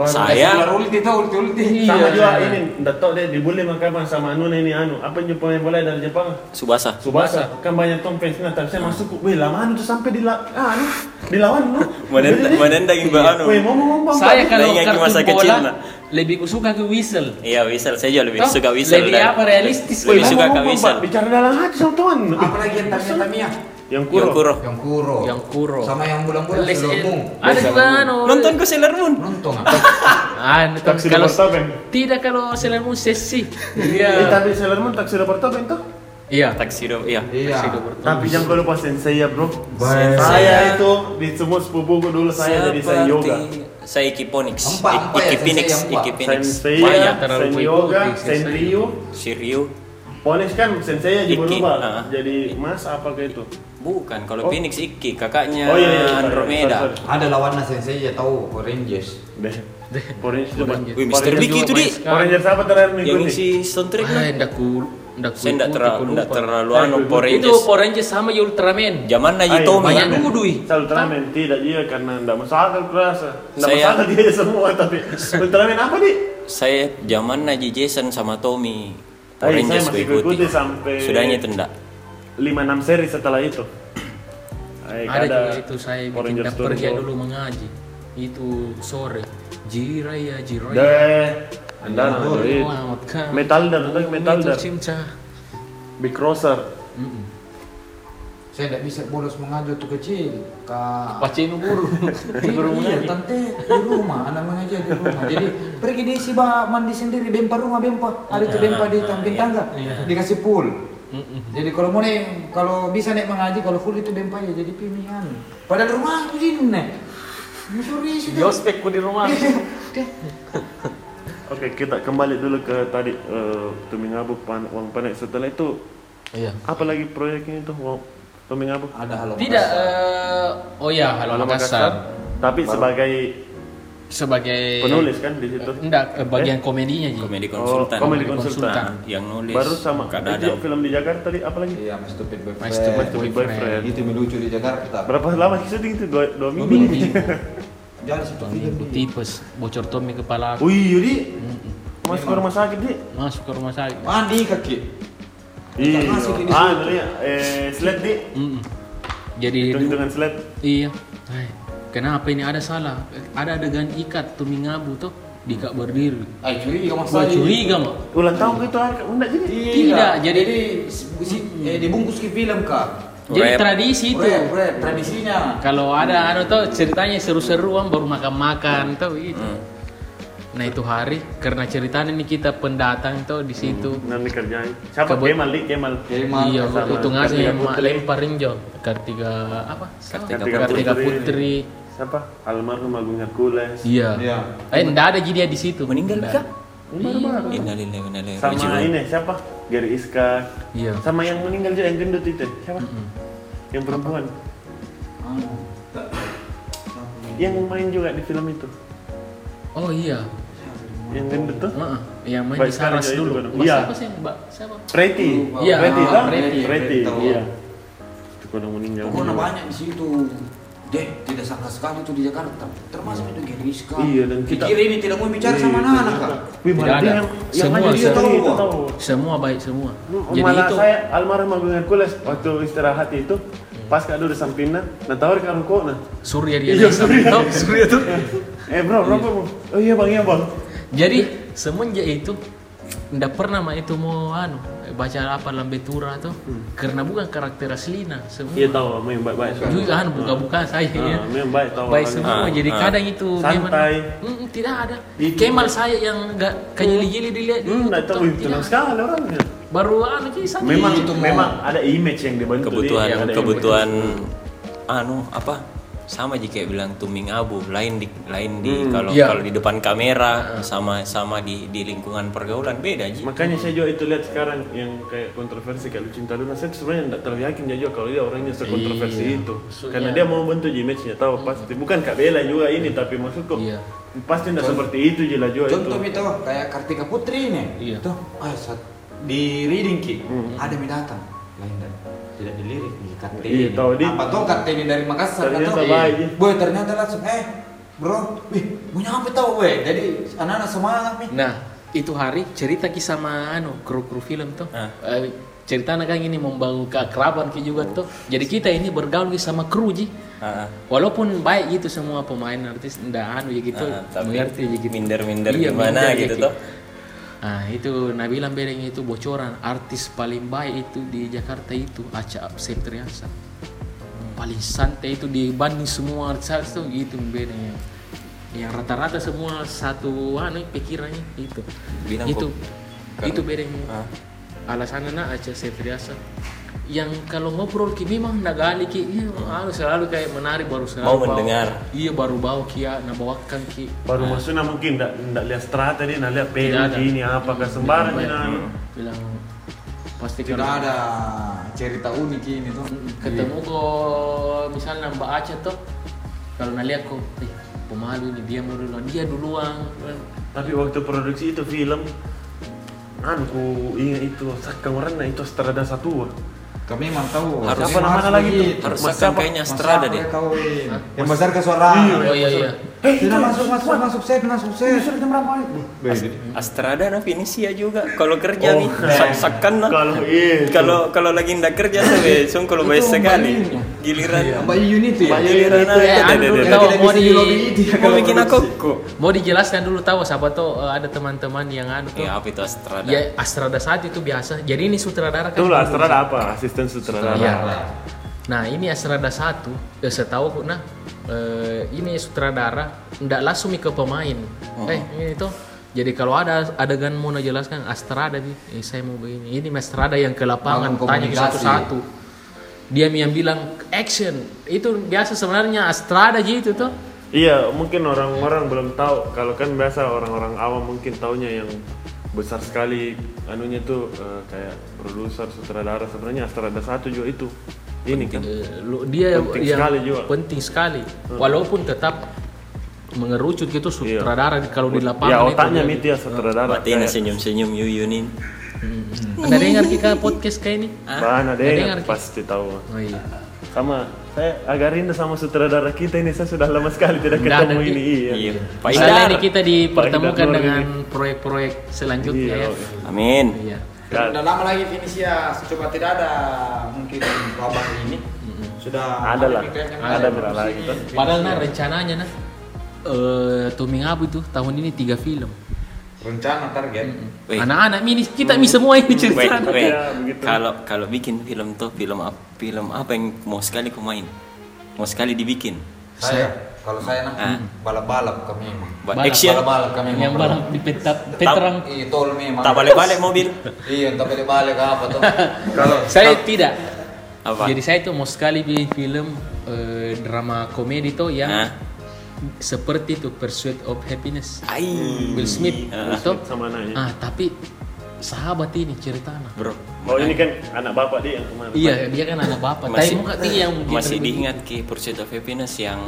S2: Saya
S3: ulti itu ulti-ulti.
S1: Ya.
S4: Sama
S1: Iya.
S4: juga ini, tidak tahu dia dibully makanya sama Anu ini Anu. Apa yang pemain bola dari Jepang?
S2: Subasa.
S4: Subasa kan banyak tom fans nah, tapi saya masuk weh lama tuh sampai di la ah, anu, dilawan lu.
S2: Menendang- menendang Mbak Anu.
S4: Weh mau mau mau.
S1: Saya
S4: Pak.
S1: kalau
S2: Ingat ke
S1: kartun
S2: masa kecil,
S1: bola
S2: nak.
S1: lebih suka ke Whistle.
S2: Iya, Wisel. Saya juga lebih
S1: Toh,
S2: suka Wisel.
S1: lebih
S2: dan
S1: apa, realistis.
S4: Weh,
S2: Lebih
S4: mau-
S2: suka
S4: mau-
S2: ke
S4: mau,
S2: Wisel.
S4: Pak. Bicara dalam hati sama tuan.
S3: Apalagi yang tamia-tamia.
S4: Yang
S2: Yang
S4: kuro.
S2: Kuro.
S3: Yang kuro.
S1: Yang kuro.
S3: Sama yang bulan-bulan
S1: Les-
S3: selomung.
S1: Ada juga anu.
S2: Nonton ke Sailor Moon.
S3: Nonton.
S1: Ah, nonton.
S4: Taksi
S1: kalau
S4: Portoben.
S1: tidak kalau Sailor Moon sesi.
S4: Eh, tapi Sailor Moon taksi Portoben tuh.
S1: Iya.
S2: Taksido, iya.
S3: Iya.
S4: Tapi jangan kau lupa sensei ya, Bro.
S3: Baik.
S4: Saya itu di semua sepupuku dulu saya jadi saya yoga.
S2: Saya Ikiponix.
S3: Empat, empat ya,
S2: Ikipinix,
S3: sensei yang empat.
S2: Ikipinix.
S4: Sensei,
S1: Banyak
S4: ya,
S1: terlalu
S4: Sen
S1: ikuti,
S4: Yoga,
S1: sensei.
S4: Sen Ryu,
S2: Shiryu.
S4: Ponis kan sensei juga
S2: Iki,
S4: lupa.
S2: ah.
S4: Jadi Mas apa ke itu?
S2: Bukan, kalau
S4: Oh.
S2: Phoenix Iki, kakaknya
S4: Oh, iya, iya, iya,
S2: Andromeda.
S4: sorry, sorry.
S3: Ada lawannya sensei ya tahu Power Rangers.
S4: Deh. Orange
S1: Power
S4: coba.
S1: Rangers.
S2: Wih, Mr.
S1: Orange
S2: Big
S1: juga
S2: itu di
S1: banyak sekali.
S4: Power Rangers apa terakhir
S2: yang
S4: mengikuti?
S2: isi soundtrack
S1: Ah,
S2: lah.
S1: ndak ku ndak ku
S2: Saya enggak
S1: ikuti, ku
S2: terlalu enggak
S1: lupa.
S2: terlalu
S4: Saya
S2: anu
S4: ikut.
S2: Power
S1: Itu
S2: Rangers.
S1: Power Rangers sama ya Ultraman.
S2: Zaman Naji
S4: Ayo,
S2: Tomi.
S1: Banyak
S4: Ultraman.
S1: dulu duit.
S4: Ultraman tidak dia karena tidak masalah kerasa. Tidak
S2: Saya-
S4: masalah dia semua tapi Ultraman apa nih?
S2: Saya zaman Naji Jason sama Tommy.
S4: Ayo,
S2: Power
S4: Ah, iya, saya
S2: Rangers gue
S4: masih
S2: ikuti.
S4: ikuti sampai-
S2: Sudahnya itu enggak.
S4: 5-6 seri setelah itu. Ay,
S1: ada juga itu saya
S4: Power
S1: bikin
S4: Rangers
S1: dak pergi
S4: Turbo.
S1: dulu mengaji. Itu sore. Jiraya jiraya.
S4: Deh, anda android.
S1: Selamatkan.
S4: Metal dar, tentang metal
S1: Itu
S4: dar.
S1: cinta.
S4: Big Crosser.
S1: Mm-mm.
S3: Saya tidak bisa bolos mengajar tuh kecil. Kak.
S1: Pacino buru. Buru
S3: Iya,
S1: mengaji.
S3: tante di rumah, anak mengajar di rumah. Jadi pergi di si bah mandi sendiri, bempa rumah bempa. Ada tuh bempa di tampil
S1: Iya.
S3: tangga, dikasih pool. Jadi kalau mau nih, kalau bisa nih mengaji, kalau full itu bempa ya jadi pilihan. Padahal rumah aku sini nih. Mencuri sih.
S1: ku di rumah.
S4: Oke, kita kembali dulu ke tadi eh, Tumingabu pan, uang panek. Setelah itu
S1: Iya.
S4: apa lagi proyeknya itu uang Tumingabu?
S3: Ada hal
S1: Tidak eh, oh ya, halo
S4: Alam
S1: Makassar.
S4: Tapi sebagai
S1: Sebagai
S4: penulis kan di situ.
S1: Enggak, eh, bagian komedinya Ji.
S2: Komedi konsultan.
S4: Oh, komedi
S1: Komedi
S4: konsultan.
S1: konsultan.
S2: yang nulis.
S4: Baru sama
S2: Kak
S4: itu
S2: Dadang.
S4: film di Jakarta tadi apa lagi?
S3: Iya, mas stupid
S1: My
S3: boyfriend.
S1: Stupid
S4: My Stupid Boyfriend.
S3: Itu yang lucu di Jakarta.
S4: Berapa lama syuting itu? Dua, dua
S3: Dua
S4: minggu.
S3: minggu. gitu. Jangan
S1: Tuan
S3: seperti
S1: minggu tipes, bocor tomi kepala. aku.
S4: Wih, Yudi. Masuk ke rumah sakit, Di.
S1: Masuk ke rumah sakit.
S3: Mandi kaki.
S4: Iya.
S3: masuk ini
S4: Ah, dulu ya. Eh, sled, Di.
S1: Mm-mm. Jadi
S4: Hitung-hitungan sled.
S1: Iya. Hai, Kenapa ini ada salah? Ada adegan ikat tumingabu tuh dikak berdiri.
S3: Ah, curiga mas
S1: Gua curiga mak.
S4: Ulang tahun gitu, ah, enggak jadi.
S3: Tidak, jadi,
S1: Jadi,
S3: si-
S4: Hmm.
S3: eh, dibungkus ke film kak.
S1: Jadi
S2: Rap.
S1: tradisi itu.
S3: Bre, bre, tradisinya.
S1: Kalau ada anu tuh ceritanya seru-seruan baru makan-makan tuh itu.
S4: Hmm.
S1: Nah itu hari karena ceritanya ini kita pendatang tuh di situ.
S4: Nanti kerjain. Siapa?
S1: Kebut-
S4: Kemal, Di. Kemal.
S3: Jadi mah
S1: Iya,
S4: Hmm. sama
S1: itu ngasih
S4: Kartika
S1: yang mak
S4: Putri.
S1: lempar rinjo. Kartiga apa?
S2: Kartika
S1: Kartika
S4: Putri.
S1: Putri.
S4: Siapa? Almarhum Agung Hercules.
S1: Iya.
S3: Iya.
S1: Eh, enggak ada jadi dia di situ.
S2: Meninggal
S1: Ndak.
S2: kah?
S4: Baru-baru.
S2: Innalillahi wa inna ilaihi
S4: Sama
S2: raji'un.
S4: ini siapa? Gary Iska.
S1: Iya.
S4: Sama yang meninggal juga yang gendut itu. Siapa? Yang perempuan. Yang main juga di film itu.
S1: Oh iya.
S4: Yang gendut tuh.
S1: Heeh. Yang main
S4: Baik
S1: di Saras
S4: sekali jadi
S1: dulu.
S4: itu, Bang.
S1: Mas,
S4: Iya.
S1: Siapa sih yang Mbak? Siapa?
S4: Preti.
S1: Iya,
S4: Preti
S1: ah,
S4: kan?
S3: Preti,
S4: Preti.
S3: Preti.
S4: Iya. Itu kau udah meninggal.
S3: Pokoknya banyak di situ. deh tidak sangka sekali itu di Jakarta termasuk itu Geriska
S4: Iya, dan kita-
S3: Pikir ini tidak mau bicara sama anak-anak kan
S4: Iya. Wih,
S1: Tidak
S4: berarti
S1: ada.
S4: yang, yang
S1: Semua
S4: hanya dia
S1: saya-
S4: tahu,
S3: Iya,
S4: Pak.
S3: tahu.
S1: Semua baik semua. Jadi
S4: Oh. Malah
S1: itu
S4: saya almarhum Agung Hercules waktu istirahat itu pas kado udah sampina, nah tawar ke kok nah.
S1: Surya dia naik sama tahu Surya tuh.
S4: Eh bro, berapa bro? Oh iya bang, iya bang.
S1: Jadi semenjak itu ndak pernah mah itu mau anu baca apa lambe tura tuh karena bukan karakter aslina semua.
S4: Hmm. Iya tahu, mau yang baik-baik.
S1: Juga anu buka-buka saya
S4: Ah,
S1: ya.
S4: memang baik tahu.
S1: Baik
S4: orang.
S1: semua,
S2: Ah,
S1: jadi
S2: ah.
S1: kadang itu
S4: Santai.
S1: memang Mm, tidak ada.
S4: Itu.
S1: Kemal saya yang nggak kejeli-jeli dilihat
S4: Hmm,
S1: dulu,
S4: nah
S1: tuh,
S4: tahu wih,
S1: tidak
S4: tenang
S1: ada.
S4: sekali orangnya.
S1: Baru anu ki satu.
S4: Memang
S3: itu mau.
S4: memang ada image yang dibantu
S2: kebutuhan
S4: dia, ada
S2: kebutuhan anu apa sama jika bilang tuming abu lain di lain di
S4: Hmm.
S2: kalau
S1: iya.
S2: kalau di depan
S4: Ah.
S2: kamera sama sama di di lingkungan pergaulan beda ji
S4: image. Makanya saya juga itu lihat sekarang yang kayak kontroversi kalau cinta Luna saya sebenarnya tidak terlalu yakin dia juga kalau dia orangnya sekontroversi
S1: Iya.
S4: itu.
S1: Maksudnya-
S4: Karena dia mau bentuk image-nya tahu pasti bukan Kak Bella juga ini tapi maksudku
S1: Iya.
S4: pasti tidak seperti itu jelas juga itu.
S3: Contoh itu kayak Kartika Putri ini.
S1: Iya.
S3: Tuh, ah, saat di reading ki ada yang datang. Lain dan tidak dilirik di Kartini.
S4: Iya, tahu di-
S3: Apa tuh Kartini dari Makassar
S4: Ternyata
S3: atau- Iya.
S4: baik, iya.
S3: Boy ternyata langsung eh bro, wih, mau nyampe tau weh. Jadi anak-anak semangat nih.
S1: Nah, itu hari cerita kisah sama anu kru-kru film tuh.
S2: Ah.
S1: Eh, cerita anak kan ini membangun keakraban ki juga tuh. Jadi kita ini bergaul ki sama kru ji.
S2: Oh. Ah,
S1: Walaupun baik gitu semua pemain artis ndak anu ya gitu.
S2: Ah, tapi
S1: mengerti ya gitu.
S2: minder-minder
S1: Iya,
S2: gimana
S1: minder ya
S2: gitu
S1: ki.
S2: toh.
S1: Nah, itu Nabila Bereng itu bocoran artis paling baik itu di Jakarta itu Aca Septriasa. Paling santai itu dibanding semua artis tuh gitu bedanya. Yang rata-rata semua satu anu pikirannya itu.
S2: Bilang
S1: itu
S2: kok.
S1: itu bedanya.
S2: Ah.
S1: Alasannya Aca Septriasa yang kalau ngobrol ki memang nggak gali ki iya, anu selalu kayak menarik baru selalu
S2: Hmm. Mau
S1: bawa-
S2: mendengar.
S1: iya baru bawa kia nah bawakan ki
S4: Baru maksudnya mungkin tidak tidak lihat strata dia, tidak lihat
S1: Tidak
S4: PNG
S1: ada.
S4: ini apa
S1: Hmm,
S4: sembarang
S1: tidak
S4: dia.
S1: ada.
S4: nah.
S1: bilang pasti
S3: Tidak
S1: kalau-
S3: ada Iya. cerita unik ini tuh.
S1: ketemu kok misalnya Mbak Aca tuh kalau nalihat kok eh pemalu nih dia mau duluan dia duluan
S4: Tapi waktu produksi itu film anu ku ingat itu sakang warna itu strada satu.
S3: Kami memang tahu.
S2: Harus-
S3: Siapa
S4: namanya
S3: harus
S4: lagi tuh?
S3: begitu.
S2: harus
S4: Mas
S2: akan
S4: siapa?
S2: kayaknya
S3: Mas
S2: strada
S3: Sarah
S2: deh
S3: tahu ini. Yang besar ke suara.
S1: oh iya iya
S3: Tidak masuk, masuk, masuk set, masuk set. Sudah jam berapa?
S2: Astrada na Finisia juga kalau kerja nih sak-sakan na.
S4: Oh. Kalau
S1: Iya.
S4: itu.
S2: kalau kalau lagi ndak kerja sampai sung kalau
S3: Itu
S2: baik sekali
S3: Mbak Yuni.
S2: giliran
S4: Iya.
S3: Mbak Yuyun itu ya?
S2: Mbak Yuyun itu
S1: ya,
S2: ya
S1: anu
S2: deh, deh,
S1: tahu,
S2: deh.
S3: Tidak
S1: mau
S3: bisa
S1: di- gitu.
S3: di lobby dia
S2: mau
S3: kalau
S2: bikin aku
S3: produksi.
S1: mau dijelaskan dulu tahu siapa tuh eh, ada teman-teman yang anu tuh
S2: ya apa itu Astrada
S1: ya Astrada saat itu biasa jadi ini sutradara kan
S4: Itulah strada apa? Asisten sutradara.
S1: Iya. Nah ini Asrada satu, eh, setahu aku nah eh, ini sutradara ndak langsung ke pemain. Eh ini tuh. Jadi kalau ada adegan mau nak jelaskan Astrada Bi. eh, saya mau begini. Ini Mas Astrada yang ke lapangan
S3: Bangun
S1: tanya
S3: komunikasi.
S1: satu-satu. Dia yang bilang action. Itu biasa sebenarnya Astrada gitu tuh.
S4: Iya, mungkin orang-orang belum tahu. Kalau kan biasa orang-orang awam mungkin taunya yang besar sekali anunya tuh eh, kayak produser, sutradara sebenarnya Astrada satu juga itu. Ini kan.
S1: Eh, lu- dia
S4: Penting
S1: yang
S4: sekali juga. Hmm.
S1: penting sekali. Walaupun tetap mengerucut gitu
S4: Iya.
S1: sutradara kalau di lapangan
S4: Ya
S1: itu
S4: otaknya
S1: dia-
S4: mitia sutradara.
S2: Berarti
S4: kayak-
S2: senyum-senyum Yuyunin
S1: Anda dengar kita podcast kayak ini? Ah,
S4: Mana
S1: Nggak dengar,
S4: deh,
S1: Ki.
S4: pasti tahu.
S1: Oh iya.
S4: sama saya agak rindu sama sutradara kita ini saya sudah lama sekali tidak
S1: Udah,
S4: ketemu
S1: nanti.
S4: ini iya
S2: Iya. Pak
S1: Misalnya
S2: Indar.
S1: ini kita
S4: Pak Indar
S1: dipertemukan
S4: Nur
S1: dengan proyek-proyek selanjutnya
S4: Iya,
S1: ya.
S4: oke.
S2: Amin.
S1: Iya.
S4: Dan
S3: Sudah lama lagi Finisia, coba tidak ada mungkin wabah ini. Sudah
S4: ada lah
S3: pikiran yang
S4: ada
S3: lain.
S4: berapa lagi tuh
S1: Padahal nah rencananya nah eh Tuming Abu itu tahun ini tiga film.
S3: Rencana target.
S2: Weh.
S1: Anak-anak ini kita mi semua ini
S2: Wait,
S1: cerita.
S2: wait.
S4: Ya, begitu.
S2: Kalau kalau bikin film tuh film apa, film apa yang mau sekali ku main? Mau sekali dibikin.
S3: Saya, kalau saya nah
S2: Ah.
S3: balap-balap kami memang.
S2: Buat
S1: Balap,
S2: action.
S3: Balap-balap kami
S1: Yang
S3: memang.
S1: malam di peta- Petrang.
S3: Iya, tol memang.
S2: Tak balik-balik mobil.
S3: Iya, tak balik-balik apa tuh. Kalau
S1: Saya tidak.
S2: Apa?
S1: Jadi saya itu mau sekali bikin film eh, drama komedi tuh yang
S2: Hah?
S1: seperti itu Pursuit of Happiness.
S2: Ai.
S1: Will Smith
S2: Ah,
S1: itu.
S4: sama anaknya
S1: Ah, tapi sahabat ini ceritanya.
S2: Bro.
S4: oh ini kan anak bapak dia yang kemarin
S1: Iya, dia kan anak bapak. Tapi
S2: Masih-
S1: muka tinggi yang mungkin
S2: Masih
S1: lebih-
S2: diingat ki Pursuit of Happiness yang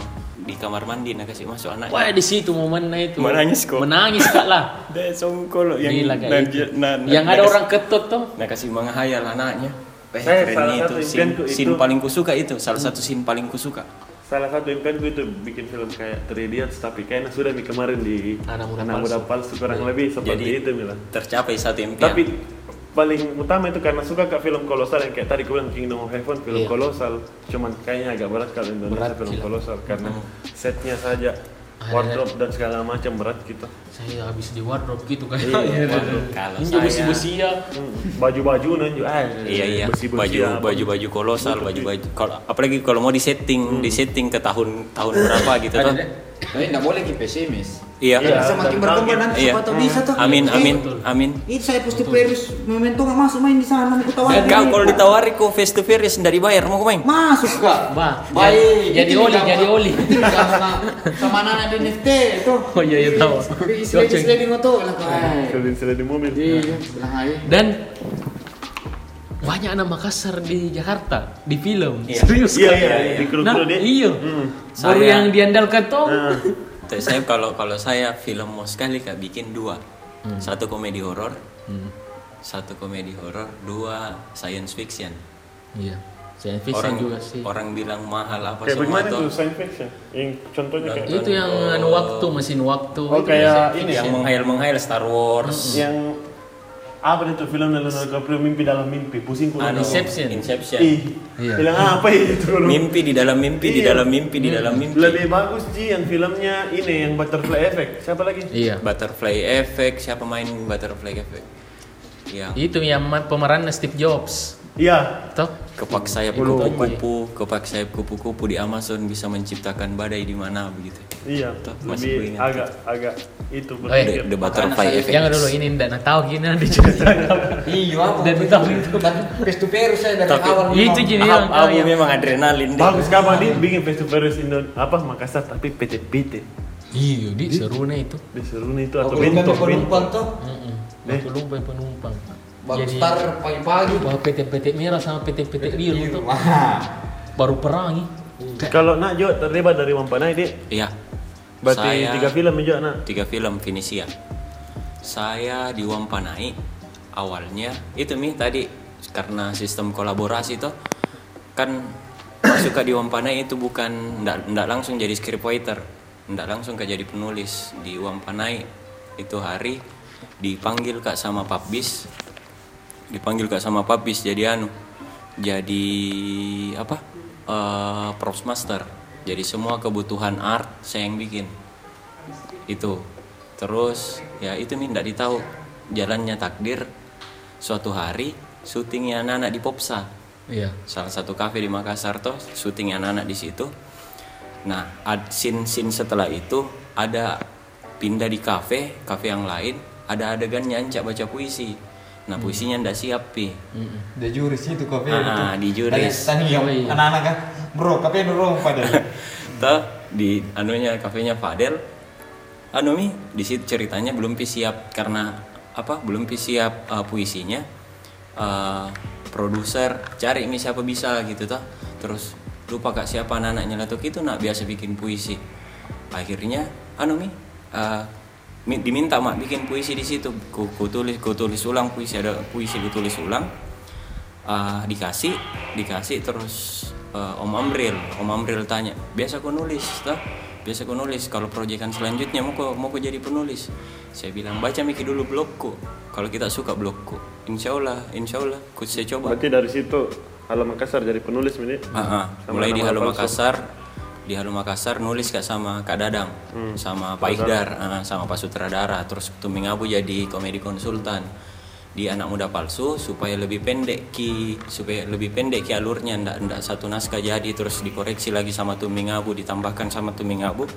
S2: di kamar mandi nak kasih masuk anak.
S1: Wah, di situ momennya itu.
S2: Menangis kok.
S1: Menangis kak lah.
S2: Dia songkol yang
S1: Gila, kayak
S2: nah,
S1: itu.
S2: dia- nah, nah,
S1: yang
S2: nah,
S1: ada
S2: kasih-
S1: orang ketut tuh.
S2: Nah kasih menghayal anaknya. Eh,
S4: Saya
S2: keren
S4: salah
S2: itu
S4: satu
S2: scene,
S4: impianku
S2: scene
S4: itu-
S2: paling kusuka itu salah satu scene paling kusuka.
S4: salah satu impianku itu bikin film kayak Three Idiots tapi kayaknya sudah nih kemarin di
S1: Anak Muda
S4: Palsu kurang lebih seperti
S2: Jadi-
S4: itu Mila.
S2: tercapai satu impian
S4: Tapi paling utama itu karena suka ke film kolosal yang kayak tadi gue bilang Kingdom of Heaven film
S1: Iya.
S4: kolosal cuman kayaknya agak berat kalau Indonesia
S1: Berat,
S4: film
S1: gila.
S4: kolosal karena setnya saja
S1: Ah,
S4: wardrobe dan segala macam berat gitu
S1: saya habis di wardrobe gitu kayak
S2: Waduh, kalau
S1: Ini
S2: saya
S1: besi-besi ya
S4: Hmm, baju-baju nanju ah
S2: iya iya
S4: besi-besi
S2: baju
S4: apa.
S2: baju baju kolosal baju
S4: iya.
S2: baju kalau apalagi kalau mau
S4: Hmm.
S2: disetting disetting ke tahun tahun berapa gitu toh
S3: Tapi nggak boleh kita pesimis.
S2: iya
S4: Iya.
S3: Semakin
S4: dan
S3: berkembang
S4: target.
S3: nanti
S2: Iya.
S3: siapa tahu
S6: Hmm.
S3: bisa tuh.
S2: amin
S3: Eh,
S2: amin amin
S3: Itu saya pasti players memento nggak masuk main di sana aku tawarin.
S2: kau kalau ditawari kau face to face dari bayar mau kau main
S3: masuk kak.
S1: Bah,
S3: Baik.
S1: jadi- jadi
S3: Itu
S1: oli,
S3: bilang
S1: jadi
S3: sama-
S1: oli.
S3: itu bilang sama sama anak di NFT itu.
S1: Oh, iya, iya, tahu. Goceng.
S3: Istri-istri ngotot lah kak.
S4: Selin-selin di mobil
S3: Iya, bilang aja.
S1: dan banyak anak Makassar di Jakarta di film
S2: Iya.
S1: serius
S4: Iya,
S1: kan?
S4: iya, iya. Di kru-kru
S1: nah,
S4: dia.
S1: iya baru
S2: Saya-
S1: yang diandalkan tuh
S2: Tapi saya kalau kalau saya film mau sekali kak bikin dua
S4: Hmm.
S2: satu komedi horor satu komedi horor dua science fiction
S1: iya saya
S2: orang
S1: juga sih
S2: orang bilang mahal apa
S4: kayak
S2: semua
S4: bagaimana
S2: itu
S4: itu science fiction yang contohnya kayak
S1: itu yang anu waktu mesin waktu
S4: oh
S1: itu
S4: kayak ini ya Hmm.
S2: yang menghayal menghayal Star Wars
S4: yang apa itu film Leonardo DiCaprio mimpi dalam mimpi pusing kurang
S2: anu,
S1: Inception.
S2: Inception.
S4: Ya, ih bilang apa itu
S2: mimpi di dalam
S1: Iya.
S2: mimpi di dalam mimpi di dalam mimpi
S4: lebih bagus Ji yang filmnya ini yang butterfly effect siapa lagi
S1: iya
S2: butterfly effect siapa main butterfly effect Iya. yang
S1: itu yang ma- pemerannya Steve Jobs
S4: iya
S1: toh
S2: kepak sayap kupu-kupu kepak sayap kupu-kupu di Amazon bisa menciptakan badai di mana begitu
S4: iya
S2: Tuh, masih
S4: lebih
S2: kuingat.
S4: agak agak itu
S1: Eh,
S2: the,
S4: berpikir
S2: the butterfly
S3: Makanya saya-
S2: effect
S1: jangan dulu ini ndak nak tahu gini nanti cerita
S3: Iya, apa?
S1: Dan itu-
S3: Tapi face to face saya dari
S2: Tapi-
S3: awal.
S1: itu
S3: memang.
S1: jadi
S2: Ab-
S1: yang
S2: abu memang adrenalin deh.
S4: bagus kapan dia bikin face to face Indo- apa Makassar tapi PT PT
S1: iya di seru nih itu
S4: disuruh itu
S2: Oh,
S3: Aku
S4: atau
S3: lupa
S4: bento
S3: penumpang tuh.
S1: Mm-mm. waktu lupa penumpang
S3: Baru start pagi-pagi. Iya.
S1: wah PT-PT merah sama PT-PT biru
S4: Iya.
S1: tuh
S3: Wah.
S1: baru perangi
S4: kalau nak Jo terlibat dari Mampanai deh
S2: iya
S4: berarti
S2: Saya-
S4: tiga film Jo nak
S2: tiga film Venesia. Saya di Wampanai awalnya itu mi tadi karena sistem kolaborasi toh kan suka di Wampanai itu bukan ndak ndak langsung jadi scriptwriter, ndak langsung ke jadi penulis di Wampanai itu hari dipanggil kak sama Papbis dipanggil kak sama Papbis jadi anu jadi apa Eh, props master jadi semua kebutuhan art saya yang bikin itu terus ya itu min tidak ditahu jalannya takdir suatu hari syutingnya anak-anak di Popsa
S1: iya
S2: salah satu kafe di Makassar toh syutingnya anak-anak di situ nah ad scene scene setelah itu ada pindah di kafe kafe yang lain ada adegan nyancak baca puisi nah puisinya ndak siap pi
S3: Di juris itu kafe
S2: Ah,
S3: itu.
S2: di juris.
S3: Tanya tanya yang anak-anak kan. Bro, kafe dorong pada.
S2: Tuh, di anunya kafenya Fadel anu mi di situ ceritanya belum pi siap karena apa belum pi siap uh, puisinya Uh, produser cari mi siapa bisa gitu tuh terus lupa kak siapa anak-anaknya lah tuh itu nak biasa bikin puisi akhirnya anu mi uh, mi- diminta mak bikin puisi di situ ku, ku tulis ku tulis ulang puisi ada puisi ditulis ulang Ah, dikasih dikasih terus eh, Om Amril Om Amril tanya biasa aku nulis toh biasa aku nulis kalau proyekan selanjutnya mau kok mau kok jadi penulis saya bilang baca Miki dulu blogku kalau kita suka blogku Insya Allah Insya Allah ku saya coba
S4: berarti dari situ Alam Makassar jadi penulis ini
S2: Ah, ah.
S4: Sama
S2: mulai di
S4: nama
S2: Halo
S4: palsu.
S2: Makassar di Halo Makassar nulis kak sama Kak Dadang
S4: Hmm.
S2: sama Pak Ihdar ah, sama Pak Sutradara terus Tuming Abu jadi komedi konsultan di anak muda palsu supaya lebih pendek ki supaya lebih pendek ki alurnya ndak ndak satu naskah jadi terus dikoreksi lagi sama Tuming Abu ditambahkan sama Tuming Abu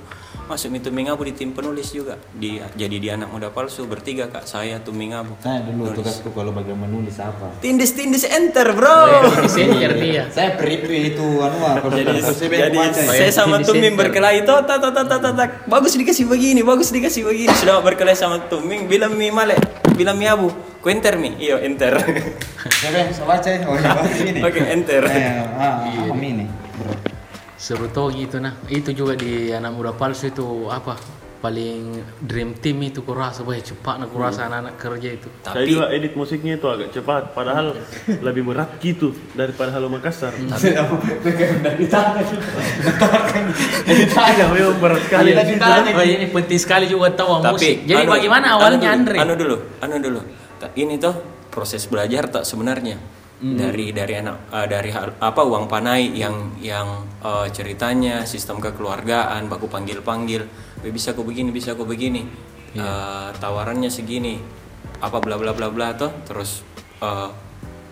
S2: masuk Mi Tuming Abu di tim penulis juga di jadi di anak muda palsu bertiga kak saya Tuming Abu
S3: Saya dulu tugasku kalau bagaimana nulis apa.
S2: tindis tindis enter bro
S1: di center dia
S3: Saya peripri itu anu apa jadi
S2: jadi
S3: ya.
S2: saya sama
S1: Jadi
S2: Tuming
S1: center.
S2: berkelahi tot tot tot tot tot, tot. bagus dikasih begini bagus dikasih begini sudah berkelahi sama Tuming bilang mi male bilang mi abu ku enter mi iyo enter
S3: Saya saya baca. Oh, iya, baca ini.
S2: oke enter
S3: Eh, ah, ah, ini.
S1: seru tuh gitu nah itu juga di anak muda palsu itu apa paling dream team itu kurasa wah cepat nak
S4: Iya.
S1: kurasa anak-anak kerja itu
S4: Saya
S2: tapi
S4: juga edit musiknya itu agak cepat, padahal lebih berat gitu daripada Halo Makassar.
S2: Nah.
S3: Pegang dari tangan. Letakkan. Dari
S4: Iya,
S3: tangan.
S4: memang berat sekali.
S3: Iya, di tangan.
S1: Oh, ini penting sekali juga tahu Oh, musik. Jadi
S2: anu-
S1: bagaimana
S2: anu
S1: awalnya
S2: dulu,
S1: Andre?
S2: Anu dulu, anu dulu. Ta- Ini tuh proses belajar tak sebenarnya
S1: Hmm.
S2: dari dari anak eh, dari hal- apa uang panai yang yang eh, ceritanya sistem kekeluargaan baku panggil panggil bisa aku begini bisa aku begini
S1: Iya.
S2: Eh, tawarannya segini apa bla bla bla bla tuh terus eh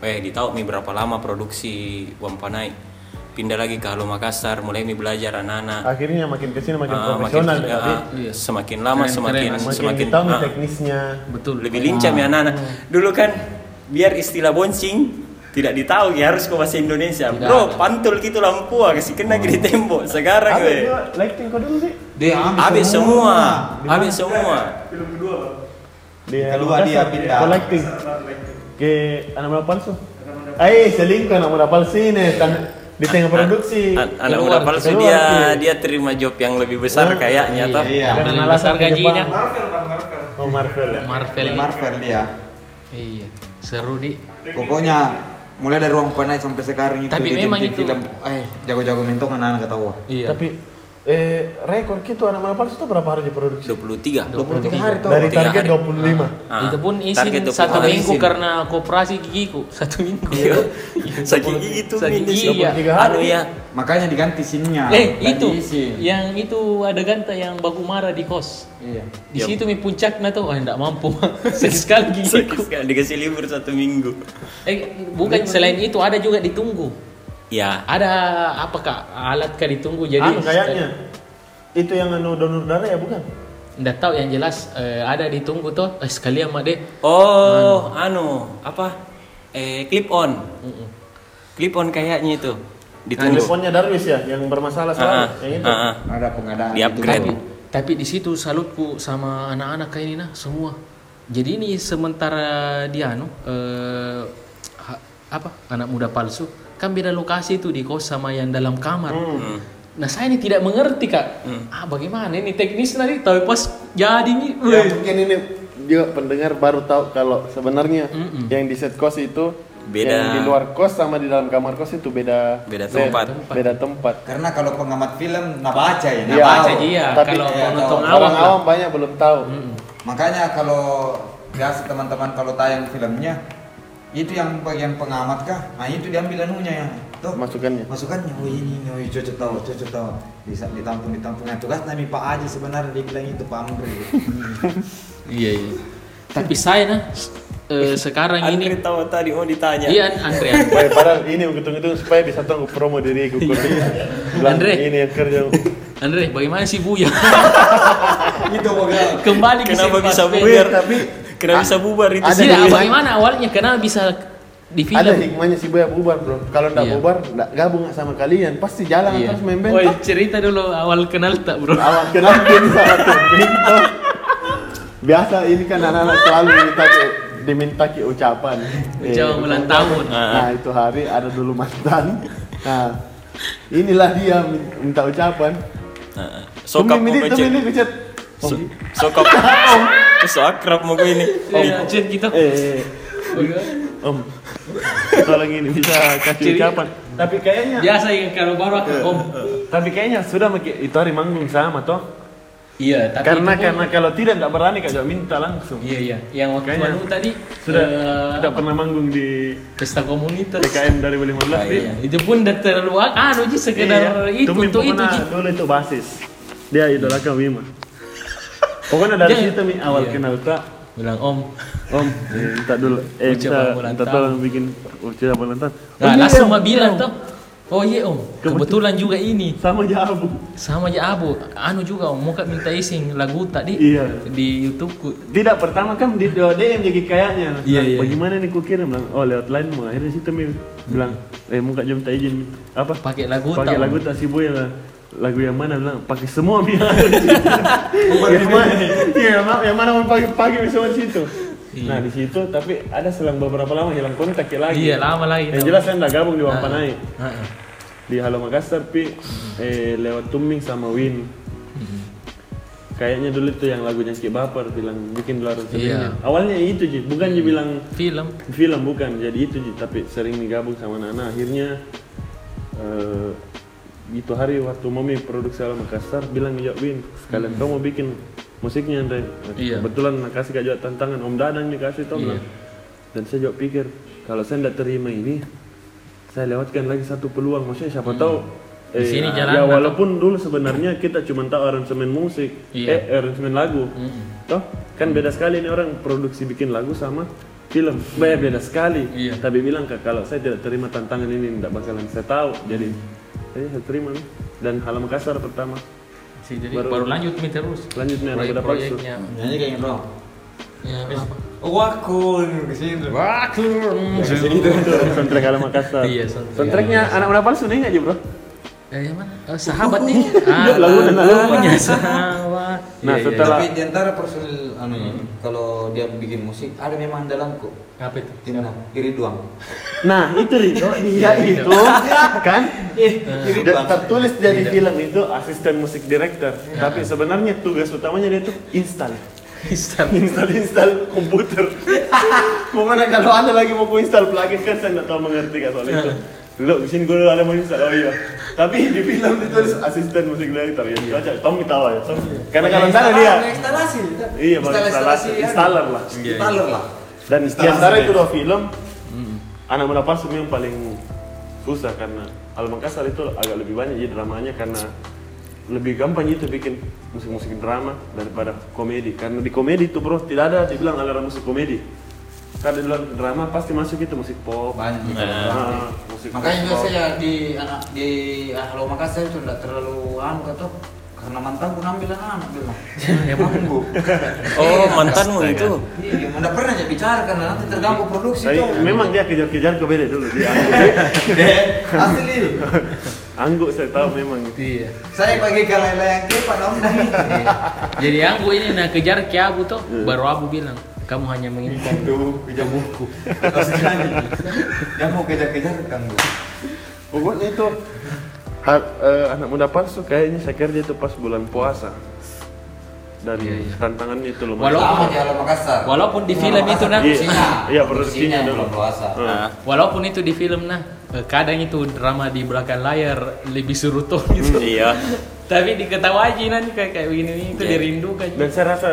S2: eh ditau mi berapa lama produksi uang panai pindah lagi ke Halo Makassar mulai mi belajar anak-anak
S4: Akhirnya makin kesini makin
S2: Ah,
S4: profesional
S2: makin-
S4: ya. Abi.
S2: ah, semakin lama
S1: Keren,
S2: semakin
S1: keren.
S4: Makin
S2: semakin
S4: kita nih
S2: ah,
S4: teknisnya.
S1: Betul.
S2: lebih lincah ya anak-anak. Dulu kan biar istilah boncing tidak ditahu ya harus ke bahasa Indonesia. Bro, pantul gitu lampu ah, kasih kena gede tembok. Sekarang
S4: Abi,
S2: gue.
S4: gua lighting kau dulu sih.
S3: Dia ambil
S2: Habis semua, habis semua.
S4: Di
S3: Kedua
S4: Halo
S3: dia
S4: Makassar,
S3: pindah.
S4: Kau lighting. Ke anak muda palsu. Eh, selingkuh anak muda palsu ini tan- di tengah produksi.
S2: An- Anak
S1: Keluar,
S2: muda palsu
S4: keluar, iya.
S2: dia
S4: Ki.
S2: dia terima job yang lebih besar kayaknya toh.
S3: Iya.
S1: Dengan
S4: Dengan
S1: alasan
S4: alasan ke
S1: gajinya
S4: Oh, Marvel ya.
S1: Marvel.
S3: Film Marvel dia.
S1: Iya. Seru di.
S3: Pokoknya mulai dari ruang panai sampai sekarang itu
S1: Tapi
S3: dia
S1: memang
S3: jentik
S1: itu-
S3: film eh jago-jago mentong anak-anak ah. ketawa.
S1: Iya.
S4: Tapi eh rekor gitu anak muda palsu itu berapa hari di produksi?
S2: 23.
S3: 23 hari tau.
S4: Dari
S2: tiga
S4: target
S2: hari.
S4: 25.
S2: Ah,
S1: itu pun
S2: target
S1: izin
S2: 20
S1: satu
S2: hari
S1: minggu
S2: izin.
S1: karena kooperasi gigiku satu minggu. Eh,
S2: Iya. gitu, Sakit gigi itu
S1: Sakit
S2: minus.
S1: gigi, iya.
S4: 23 hari.
S2: Anu ya,
S3: Makanya diganti sinnya.
S1: Eh
S3: Dan
S1: itu
S3: diisi.
S1: yang itu ada ganta yang baku marah di kos.
S3: Iya.
S1: Di
S2: Iya.
S1: situ mi puncak na tuh, wah tidak mampu. Sakit sekali
S2: sakit
S1: gigiku.
S2: sekali dikasih libur satu minggu.
S1: Eh bukan selain itu ada juga ditunggu.
S2: Ya,
S1: Ada apa kak alat kah ditunggu jadi. eh,
S4: anu kayaknya itu yang anu donor darah ya bukan?
S1: Nggak tahu yang jelas eh, ada ditunggu tuh eh, sekalian mak deh.
S2: Oh, anu, apa? Eh, clip on. Clip on kayaknya itu. Ditunggu.
S4: Teleponnya Darwis ya yang bermasalah selalu.
S2: Anu. Ah,
S4: yang itu.
S2: ah, ah.
S3: Ada pengadaan.
S2: Di upgrade.
S1: Tapi, tapi di situ salutku sama anak-anak kayak ini nah semua. Jadi ini sementara dia anu eh, ha- apa anak muda palsu kan beda lokasi itu di kos sama yang dalam kamar.
S2: Hmm.
S1: Nah saya ini tidak mengerti kak. Ah bagaimana ini teknis nanti tapi pas jadi ini.
S4: Ya,
S1: weh.
S4: mungkin ini juga pendengar baru tahu kalau sebenarnya yang di set kos itu
S2: Beda.
S4: yang di luar kos sama di dalam kamar kos itu beda
S2: Beda tempat.
S4: Beda tempat.
S3: Karena kalau pengamat film nabaca ya,
S4: Iya.
S1: Baca
S3: nabaca.
S1: dia
S4: Tapi-
S1: kalau
S3: Iya,
S1: penonton
S4: Orang
S1: awam.
S4: awam,
S1: lah.
S4: banyak belum tahu.
S3: Makanya kalau biasa teman-teman kalau tayang filmnya itu yang bagian pengamat kah? Nah itu diambil anunya ya. Tuh,
S4: Masukannya.
S3: masukannya. Oh ini, ini, oh, cocok tahu, cocok tahu. Bisa ditampung, ditampung. Nah, tugas nami Pak Aji sebenarnya dia bilang itu Pak Amri.
S1: Iya iya. Tapi saya nah s- eh, sekarang ini.
S2: Andre tahu tadi mau ditanya.
S1: Iya Andre.
S4: Wah, padahal ini menghitung-hitung supaya bisa tahu promo diriku. Bilang,
S1: Iya. Andre.
S4: Ini yang kerja.
S1: Andre bagaimana sih Buya?
S3: itu pokoknya.
S1: Kembali ke
S2: Kenapa
S1: sifat
S2: bisa Ya,
S1: beda.
S2: bubar? Kenapa bisa bubar itu?
S4: Ada
S1: Tidak,
S4: yang-
S1: bagaimana awalnya kenapa bisa di film?
S4: Ada hikmahnya sih banyak bubar bro. Kalau tidak
S1: Iya.
S4: bubar, tidak gabung sama kalian pasti jalan
S1: Iya.
S4: terus main
S1: Woi,
S4: bentok.
S1: cerita dulu awal kenal tak, Bro?
S4: Awal kenal gini sama Tobing tuh. Biasa ini kan anak-anak selalu minta ke- diminta ke ucapan. Eh,
S1: Ucapan ulang tahun.
S4: Nah itu hari ada dulu mantan. Nah inilah dia min- minta ucapan.
S2: Nah, Sokap mau gue
S4: minit,
S2: cek.
S4: minit, minit.
S2: So- Sokap. So akrab mau gue ini.
S1: Iya, Jen kita.
S4: Eh, om, tolong ini bisa kasih
S1: Jadi-
S4: ucapan. Tapi kayaknya,
S1: Biasa ya kalau baru aku om.
S4: Eh. tapi kayaknya sudah maki- itu hari manggung sama toh.
S1: Iya, tapi itu
S4: Karena
S1: pun-
S4: karena kalau tidak tidak berani kak Jawa minta langsung.
S1: Iya, iya. Yang waktu
S4: Kayaknya
S1: anu tadi
S4: Sudah
S1: eh,
S4: tidak pernah manggung di
S1: pesta komunitas.
S4: PKM dari 2015 sih.
S1: Iya, itu pun udah terlalu anu Ji sekedar
S4: Iya.
S1: itu
S4: Tumi
S1: untuk itu
S4: pokoknya
S1: Ji.
S4: dulu itu basis. Dia idolakan Wima. Pokoknya dari
S1: Dia-
S4: situ mi awal
S1: iya.
S4: kenal tak.
S1: Bilang om.
S4: Om, eh, minta dulu.
S1: Ucapan
S4: Eh, bisa
S1: ulang
S4: minta
S1: tahun.
S4: tolong bikin ucapan ulang tahun.
S1: Nah,
S4: Oh, iya,
S1: langsung
S4: Om.
S1: mah bilang tuh. Oh iya om, kebetulan juga ini
S4: Sama Jabu.
S1: sama aja Abu. Anu juga om, muka minta ising lagu tadi
S4: Iya.
S1: di YouTubeku.
S4: Tidak pertama kan di oh, DM jadi
S1: Iya,
S4: kayaknya. Bilang,
S1: iya.
S4: Bagaimana nih ku kirim bilang, "Oh, lewat line mu." Akhirnya situ mi bilang, "Eh, muka jam tak izin." Apa?
S1: Pakai lagu
S4: Pakai
S1: tau.
S4: lagu tak si boy lah. Lagu yang mana bilang pakai semua biar. yang mana? Iya, yang mana- yang mana mau pakai pakai semua di situ.
S1: Iya.
S4: Nah di situ tapi ada selang beberapa lama hilang kontak ya lagi.
S1: Iya, lama lagi. Ah.
S4: Yang
S1: tau.
S4: jelas saya nggak gabung di Wampanai
S1: Heeh. Mm-hmm.
S4: di Halo Makassar tapi eh, lewat Tuming sama Win. Kayaknya dulu tuh yang lagunya Ki Baper bilang bikin dolar
S1: Iya.
S4: seringnya. Awalnya itu Ji, bukan Ji bilang
S1: Film.
S4: film bukan, jadi itu Ji, tapi sering digabung sama anak-anak. Akhirnya eh, itu hari waktu mami produksi ala Makassar bilang ya Win, sekalian kau mau bikin musiknya Andre. Nah,
S1: Hmm. Iya.
S4: Kebetulan nak kasih kajak tantangan Om Dadang nih kasih tau
S1: Iya.
S4: bilang. Dan saya juga pikir kalau saya tidak terima ini, saya lewatkan lagi satu peluang. Maksudnya siapa tahu
S1: Hmm. Di sini jalan
S4: ya
S1: atau-
S4: walaupun dulu sebenarnya kita cuma tahu aransemen musik,
S1: Iya.
S4: eh aransemen lagu. Toh, kan beda sekali nih orang produksi bikin lagu sama film. Beda beda sekali.
S1: Iya.
S4: Tapi bilang "Kak, kalau saya tidak terima tantangan ini tidak bakalan saya tahu. Jadi jadi saya terima nih. dan halaman kasar pertama.
S1: Sih, jadi baru,
S4: Baru-
S1: lanjut mi terus.
S4: Lanjut nih anak
S1: Proyek-
S4: kuda palsu.
S1: proyeknya.
S3: Nyanyi kayak yang rock.
S1: Ya, apa?
S3: Wakun ke situ.
S4: Soundtrack halaman kasar.
S1: Iya, soundtrack.
S4: Soundtracknya anak kuda palsu nih nggak sih bro?
S1: Eh, yang mana? Eh, sahabat nih. Ah,
S4: Lagu dan lagu.
S1: punya sahabat.
S4: Nah,
S1: Iya, iya.
S4: setelah-
S3: Tapi di antara personil anu ya, kalau dia bikin musik ada memang dalamku.
S1: iya. apa itu?
S3: Timna, iri doang.
S4: Nah itu Rito,
S1: Oh, iya,
S4: dia itu kan da- tertulis jadi
S1: Iya.
S4: film itu asisten musik director, tapi sebenarnya tugas utamanya dia itu install, install, install komputer. mau mana kalau anda lagi mau ku install plugin kan saya nggak tahu mengerti kan soal itu. Dulu di sini gue ada mau install, oh iya. Tapi di film ditulis asisten musik director ya, itu aja. Tom ketawa ya, Tom. Karena kalau salah dia,
S3: Instalasi. kan? iya.
S4: iya baru instalasi, installer lah.
S3: Installer lah.
S4: Dan di antara itu dua film, Anak Muda Palsu memang paling susah karena Al Makassar itu agak lebih banyak jadi dramanya karena lebih gampang itu bikin musik-musik drama daripada komedi karena di komedi itu bro tidak ada dibilang aliran musik komedi karena di dalam drama pasti masuk itu musik pop
S3: Banyak.
S4: ah, musik
S3: Makanya juga
S4: pop.
S3: saya di anak di ah, Halo Makassar itu tidak terlalu anu kata karena mantan pun ambil anak bilang.
S1: Ya,
S3: Emang
S1: Iya.
S3: bu.
S2: Oh, mantanmu itu.
S3: Iya, udah pernah aja bicara karena nanti terganggu produksi
S4: Tapi
S3: tuh.
S4: memang dia kejar-kejar komedi dulu dia
S3: Iya. asli.
S4: angguk saya tahu memang
S1: Iya.
S3: Saya bagi kalau yang kepan om Dani.
S1: Jadi aku ini nah kejar ke Abu tuh, baru Abu bilang, kamu hanya menginginkan
S3: Aduh, kejar buku. Terus sekali. Dia mau kejar-kejar kan bu.
S4: Pokoknya itu ha- eh, anak muda palsu kayaknya saya kira dia itu pas bulan puasa dan tantangannya itu
S1: Iya,
S4: lumayan.
S1: Walau-
S3: Lama di Halo Makassar.
S1: Walaupun di film itu nah,
S4: Iya.
S3: Produksinya.
S4: Iya,
S3: Produksinya
S4: produksinya
S3: yang
S4: dulu.
S3: belum puasa.
S4: Eh,
S1: walaupun itu di film nah, eh, kadang itu drama di belakang layar lebih seru tuh gitu.
S2: Iya.
S1: Tapi diketawa aja nanti kayak kayak begini ini itu
S2: Iya.
S1: dirindukan.
S4: dan saya rasa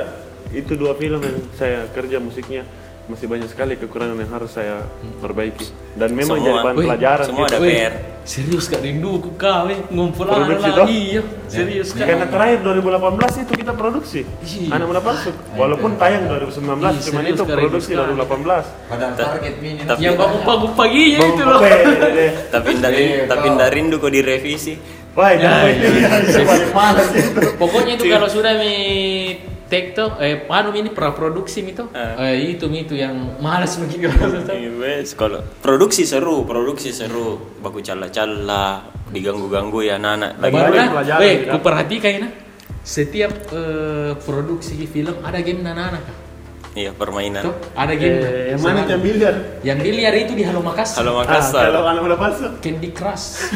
S4: itu dua film yang saya kerja musiknya masih banyak sekali kekurangan yang harus saya perbaiki dan
S2: Semua.
S4: memang jadi bahan
S1: Hmm. Wih,
S4: pelajaran
S2: semua
S4: gitu.
S2: ada
S1: Weh,
S2: PR.
S1: Serius kak rindu aku kau eh ngumpul lah
S4: Produksi toh?
S1: iya serius kak.
S4: Karena terakhir 2018 itu kita produksi
S1: Iya.
S4: Anak Muda Palsu Walaupun tayang 2019
S1: Iya,
S4: cuman
S1: serius
S4: itu
S1: sekali,
S4: produksi
S1: sekali.
S4: 2018
S3: Padahal target mini.
S2: Tapi-
S4: Iya.
S1: Yang bangun pagi paginya itu
S4: Bang
S1: loh.
S4: Pepe, Dede.
S2: Tapi ndak
S3: Iya,
S2: tapi
S3: kau.
S2: ndak rindu kok direvisi.
S4: Wah,
S1: Ya,
S4: jangan
S1: iya.
S4: ini. Itu paling males itu.
S1: Pokoknya itu kalau sudah mi take tuh, eh panu ini praproduksi mi tuh,
S2: Ah.
S1: eh, itu mi itu yang malas begitu.
S2: Iya, wes, kalau produksi seru, produksi seru. Baku cala-cala, diganggu-ganggu ya anak-anak. Lagi
S1: Baru
S4: banyak
S1: nah,
S4: pelajaran,
S1: weh,
S4: ya.
S1: ku perhatikan nah, setiap eh, produksi film ada game anak-anak. Kak.
S2: iya permainan.
S1: Tuh, ada game. Kak.
S4: Ya. Eh, yang mana yang biliar?
S1: Yang biliar itu di Halo Makassar.
S2: Halo
S4: Ah,
S2: Makassar.
S4: kalau anak udah masuk.
S1: Candy Crush.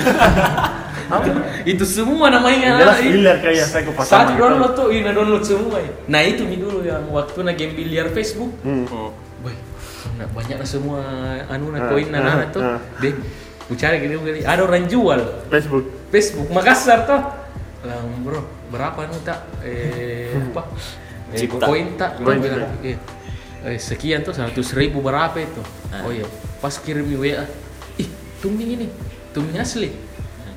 S1: itu semua namanya.
S4: Jelas
S1: anak-anak.
S4: biliar kayak saya ke pasar. gitu.
S1: Saat download tuh, ini download semua. ya. Nah itu mi dulu yang waktu na game biliar Facebook.
S2: Hmm.
S1: Boy, nak banyak lah semua anu
S4: Ah,
S1: nak koin nak
S4: ah,
S1: anak tuh.
S4: ah.
S1: Deh, ku cari gini gini. Ada orang jual
S4: Facebook.
S1: Facebook Makassar tuh. Lang bro, berapa anu tak? Eh apa? Eh,
S2: Cipta.
S1: koin tak? Gua
S4: Koin
S1: bilang, "Iya." Eh, sekian tuh seratus ribu berapa itu?
S2: Ah.
S1: Oh iya, pas kirim di WA, ih tumbing ini, tumbing asli.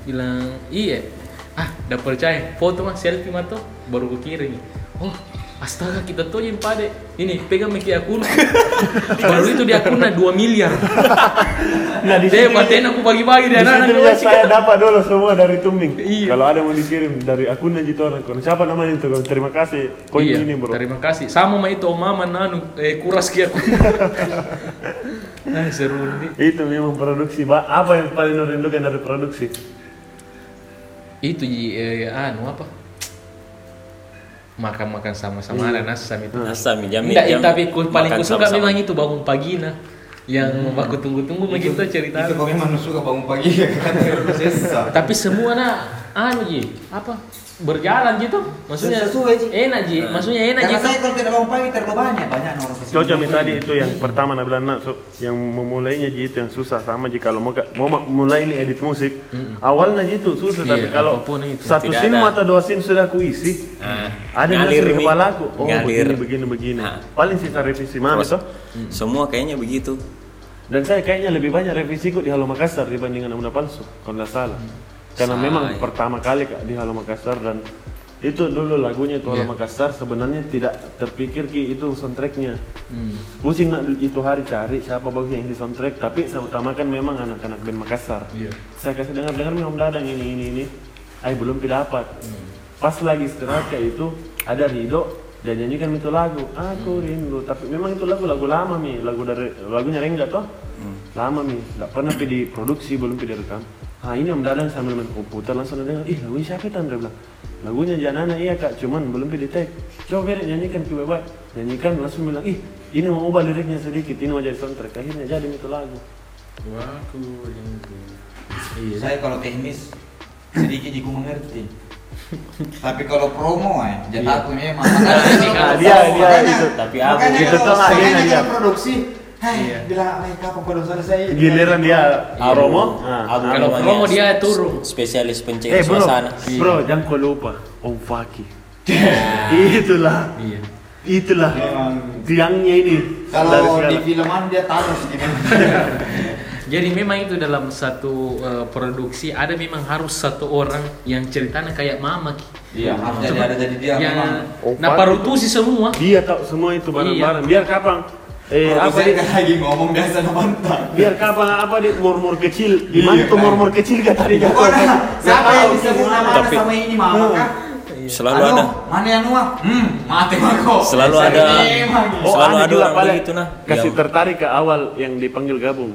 S1: Bilang iya, ah udah percaya, foto mah selfie mah tuh baru ku kirim. Oh astaga kita tuh yang pade, ini pegang miki akun. baru itu di akunnya 2 miliar.
S4: Nah, di
S1: Deh,
S4: sini-
S1: baten aku Nah, bagi-bagi
S4: Di
S1: dia anak-anak
S4: situ
S1: gua
S4: ya
S1: sih.
S4: saya dapat dulu semua dari Tumbing.
S1: Iya.
S4: Kalau ada yang mau dikirim dari akun aja itu orang Koin. Siapa namanya itu? Terima kasih. Koin
S1: iya,
S4: ini bro.
S1: Terima kasih. Sama sama itu Om Maman anu eh kuras kia aku. nah, seru nih.
S4: Itu memang produksi. Ba- Apa yang paling lo rindukan dari produksi?
S1: Itu ji, eh, anu apa? Makan-makan sama-sama ada nasi sama itu.
S2: Asam jam
S1: Enggak,
S2: jam-
S1: tapi ku, paling ku
S2: makan
S1: suka
S2: sama-sama.
S1: memang itu bangun pagi nah. Yang aku
S3: Gitu.
S1: tunggu-tunggu begitu cerita.
S4: Iya,
S3: Itu kau memang suka bangun pagi ya kan. Sesa.
S1: Tapi semua nah anu ji apa berjalan gitu maksudnya
S3: Sesuai, Ji.
S1: enak ji maksudnya enak gitu. ji
S3: Karena saya kalau tidak bangun pagi terlalu banyak banyak orang kesini.
S4: gitu. Cocok mi tadi itu yang pertama nak bilang nak so, yang memulainya je itu yang susah sama je kalau mau ka- mau ma- mulai ni edit musik awalnya je itu susah tapi
S1: Iya,
S4: kalau
S1: apapun itu.
S4: satu
S2: Tidak
S4: sin
S2: ada.
S4: mata dua sin sudah aku isi
S2: Ah, ngalir
S4: ada ngalir di
S2: mi.
S4: kepala aku oh
S2: Ngalir.
S4: begini begini begini
S2: Ah.
S4: paling sisa revisi mana
S2: Terus,
S4: toh
S2: semua kayaknya begitu
S4: dan saya kayaknya lebih banyak revisi ikut di Halo Makassar dibandingkan Amuna Palsu kalau tidak salah karena
S2: Say.
S4: memang pertama kali Kak, di Halo Makassar dan itu dulu lagunya itu
S2: Ya.
S4: Halo Makassar sebenarnya tidak terpikir ki itu soundtracknya
S1: Hmm,
S4: pusing nak itu hari cari siapa bagus yang di soundtrack tapi saya utamakan memang anak-anak band Makassar
S1: iya.
S2: Ya.
S4: saya kasih dengar dengar memang dadang ini ini ini ay belum pi dapat pas lagi istirahat kayak itu ada Rido dan nyanyikan itu lagu aku rindu tapi memang itu lagu lagu lama mi lagu dari lagunya Rengga toh lama mi nggak pernah pi diproduksi belum pi direkam ah ini om dadang sambil main komputer langsung ada dengar ih lagunya siapa itu Andre bilang lagunya Janana iya kak cuman belum pi di tag coba Rek, nyanyikan ke bebas nyanyikan langsung bilang ih ini mau ubah liriknya sedikit ini mau jadi soundtrack akhirnya jadi itu lagu
S3: Iya, Saya kalau teknis sedikit juga mengerti. Tapi kalau promo ya, jadi aku memang. Makanya kalau-
S4: Iya, dia- dia
S3: makanya-
S4: itu.
S2: Tapi aku-
S3: makanya
S4: Gitu
S3: kalau-
S4: tuh nggak, dia
S3: makanya
S4: nggak
S3: kalau produksi, hai, bilang "Hai, kapan produser saya?"
S4: giliran dia Iya. Aromo
S2: Aku
S1: Kalau
S2: namanya
S1: promo dia turun.
S2: Ah, spesialis pencari
S4: eh bro
S2: suasana
S4: bro jangan kau lupa Om Faki itulah
S1: Iya.
S4: itulah
S3: Memang.
S4: tiangnya ini dari
S3: Kalau
S4: segala-
S3: di filman dia Thanos gitu.
S1: Jadi memang itu dalam satu eh, produksi ada memang harus satu orang yang ceritanya kayak mama Ki.
S3: Iya, harus jadi ada jadi dia
S1: yang
S3: Iya, memang.
S4: Oh,
S1: nah
S4: pasti.
S1: parutusi semua.
S4: dia tahu semua itu barang-barang biar kapan eh apa
S3: Produser kan lagi ngomong biasa ngebantah.
S4: biar kapan apa dia murmur kecil di mana tuh murmur kecil kan tadi kata
S3: Pokoknya Iya. siapa yang
S4: tahu
S3: disebut nama anak
S2: Tapi-
S3: sama ini mama kah?
S2: selalu
S3: Anu,
S2: ada
S3: Mana yang Nuah? Hmm, mati Mako.
S2: Selalu
S3: Saya
S2: ada-
S3: memang.
S4: Oh,
S2: Selalu
S4: ada
S2: ada
S4: juga
S2: orang
S4: paling
S2: begitu, nah.
S4: Kasih
S2: Yang- Hmm.
S4: tertarik ke awal yang dipanggil gabung.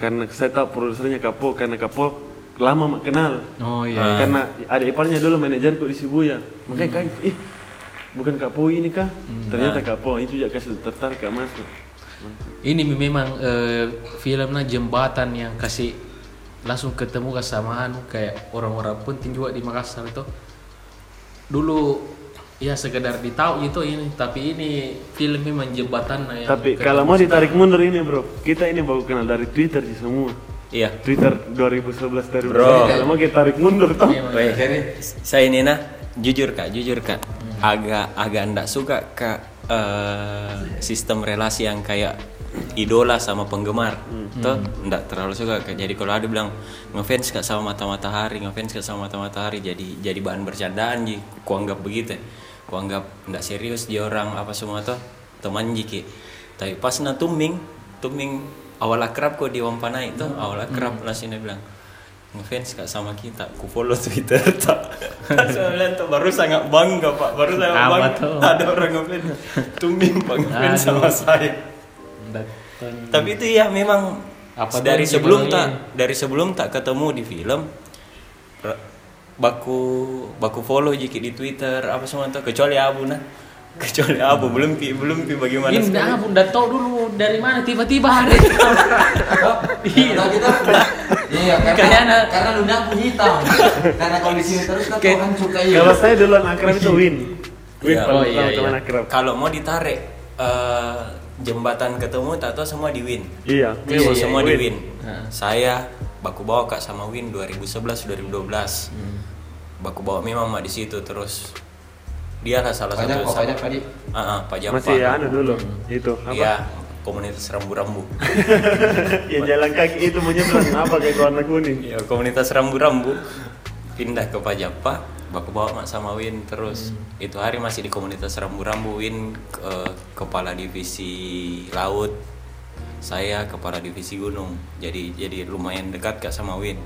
S4: Karena saya tahu produsernya Kapo, karena Kapo lama mak kenal.
S1: Oh
S2: Ah.
S4: Karena ada iparnya dulu manajerku di Shibuya. Makanya
S2: Hmm.
S4: kaget, ih, bukan Kapo ini kah?
S2: Ah.
S4: Ternyata Kapo itu juga kasih tertarik ke masuk.
S1: Ini memang eh, filmnya jembatan yang kasih langsung ketemu kesamaan kayak orang-orang penting juga di Makassar itu. Dulu ya sekedar ditahu gitu ini, tapi ini film memang jembatan
S2: Ya,
S1: yang
S4: Tapi
S1: ketemu.
S4: kalau mau ditarik mundur ini bro, kita ini baru kenal dari Twitter di semua.
S2: iya
S4: Twitter 2011 dari
S2: Bro. Iya.
S4: Kalau mau kita tarik mundur toh.
S1: Memang.
S2: Weh,
S3: Jadi,
S2: saya ini nah jujur kak jujur kak agak agak ndak suka kak eh, sistem relasi yang kayak idola sama penggemar tuh ndak terlalu suka kak jadi kalau ada bilang ngefans kak sama mata matahari ngefans kak sama mata matahari jadi jadi bahan bercandaan ji kuanggap begitu ya. kuanggap ndak serius dia orang apa semua tuh teman jiki tapi pas na tuming tuming awal akrab kok di wampanai tuh awal akrab lah sini bilang ngefans gak sama kita, ku follow Twitter tak. Saya bilang tuh baru sangat bangga pak, baru sangat
S1: Apa
S2: bangga
S1: tuh?
S2: ada orang ngefans, tumbing pak ngefans sama saya.
S1: Datang.
S2: Tapi itu ya memang
S1: Apa
S2: dari
S1: tuh
S2: sebelum
S1: gimana
S2: tak
S1: ini?
S2: dari sebelum tak ketemu di film ra- baku baku follow jiki di Twitter apa semua tuh kecuali Abu nah kecuali Abu belum pi belum pi bagaimana
S1: Hmm. Ini
S2: sekali.
S1: dah pun dah tahu dulu dari mana tiba-tiba ada.
S3: kita kita Iya, karena
S1: Kayaknya-
S3: karena lunak punya hitam. karena kalau di sini terus kan
S1: Kayak-
S3: Tuhan suka iya.
S4: Kalau saya dulu akrab itu win. Win
S2: Iya.
S4: paling
S1: Oh, iya,
S4: pertama teman
S1: iya.
S4: akrab.
S2: Kalau mau ditarik eh, jembatan ketemu tak tahu semua di win.
S4: Iya,
S2: Iya,
S1: Iya, iya,
S2: semua di
S4: Win.
S2: Win. Saya baku bawa Kak sama Win 2011 2012. Baku bawa memang Mak di situ terus dia lah salah
S3: Pajak
S2: satu
S3: kok, pajak tadi.
S2: Ah, ah, Pak Japa.
S4: masih ya anu dulu itu apa?
S2: Iya, komunitas rambu-rambu.
S4: ya jalan kaki itu menyeberang apa kayak warna kuning.
S2: Iya, komunitas rambu-rambu pindah ke Pak Japa, baku bawa Mak sama Win terus. Itu hari masih di komunitas rambu-rambu Win eh, kepala divisi laut. Saya kepala divisi gunung. Jadi jadi lumayan dekat Kak sama Win.